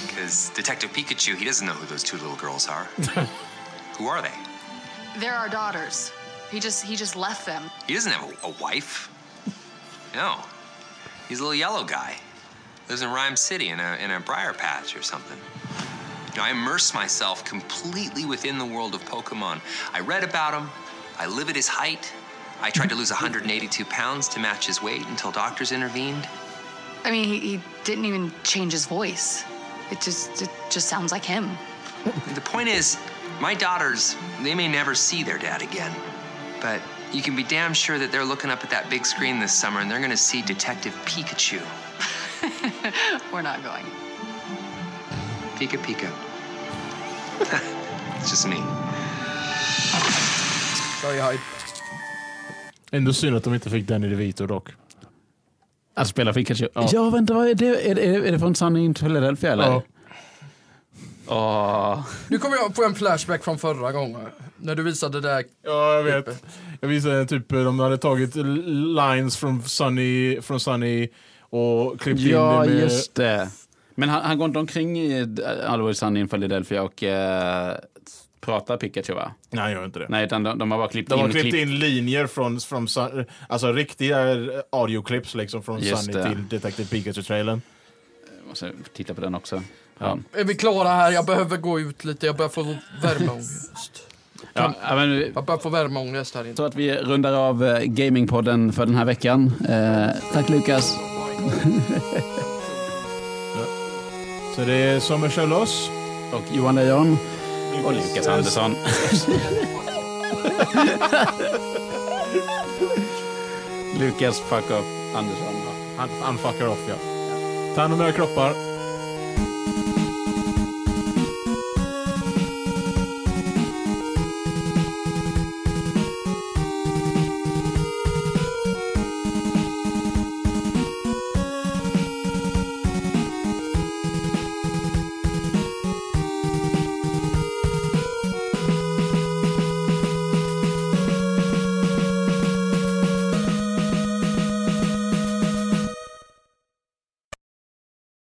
Speaker 9: because Detective Pikachu he doesn't know who those two little girls are. who are they?
Speaker 10: They're our daughters. He just he just left them.
Speaker 9: He doesn't have a, a wife. No. He's a little yellow guy. Lives in Rhyme City in a, in a briar patch or something. You know, I immerse myself completely within the world of Pokemon. I read about him. I live at his height. I tried to lose 182 pounds to match his weight until doctors intervened.
Speaker 10: I mean, he, he didn't even change his voice. It just it just sounds like him.
Speaker 9: The point is, my daughters, they may never see their dad again, but you can be damn sure that they're looking up at that big screen this summer and they're gonna see Detective Pikachu.
Speaker 10: We're not going.
Speaker 9: Pika Pika. [LAUGHS] it's just me.
Speaker 2: Sky Hyde.
Speaker 4: Ändå synd att de inte fick Danny DeVito dock.
Speaker 1: Att spela Pikachu? Ja, vänta, vad är det? Är, är, är det från Sunny in Philadelphia eller?
Speaker 4: Ja.
Speaker 1: Åh.
Speaker 2: Nu kommer jag på en flashback från förra gången. När du visade det där.
Speaker 4: Ja, jag vet. Jag visade typ eh, de hade tagit lines från Sunny, från Sunny och klippt
Speaker 1: Ja,
Speaker 4: in det med...
Speaker 1: just det. Men han, han går inte omkring i eh, Always Sunny in Philadelphia och eh, pratar Pikachu va?
Speaker 4: Nej, jag gör inte det.
Speaker 1: Nej, utan de, de har bara klippt
Speaker 4: De har
Speaker 1: in
Speaker 4: klippt
Speaker 1: klipp.
Speaker 4: in linjer från, från Sun- alltså riktiga eh, audioklips liksom från
Speaker 1: Just
Speaker 4: Sunny
Speaker 1: det.
Speaker 4: till Detective Pikachu-trailern.
Speaker 1: Jag Måste titta på den också. Ja.
Speaker 2: Är vi klara här? Jag behöver gå ut lite. Jag börjar få
Speaker 4: [LAUGHS]
Speaker 2: värmeångest.
Speaker 1: Ja, ja, men, vi-
Speaker 2: Jag börjar få värmeångest här inne.
Speaker 1: så att vi rundar av eh, Gamingpodden för den här veckan. Eh, tack Lukas.
Speaker 4: Så det är Somershell Loss.
Speaker 1: Och Johan Lejon. Och Lukas [LAUGHS] Andersson. Lukas fuck up Andersson.
Speaker 4: Han, han fuckar off, ja. Ta hand om era kroppar.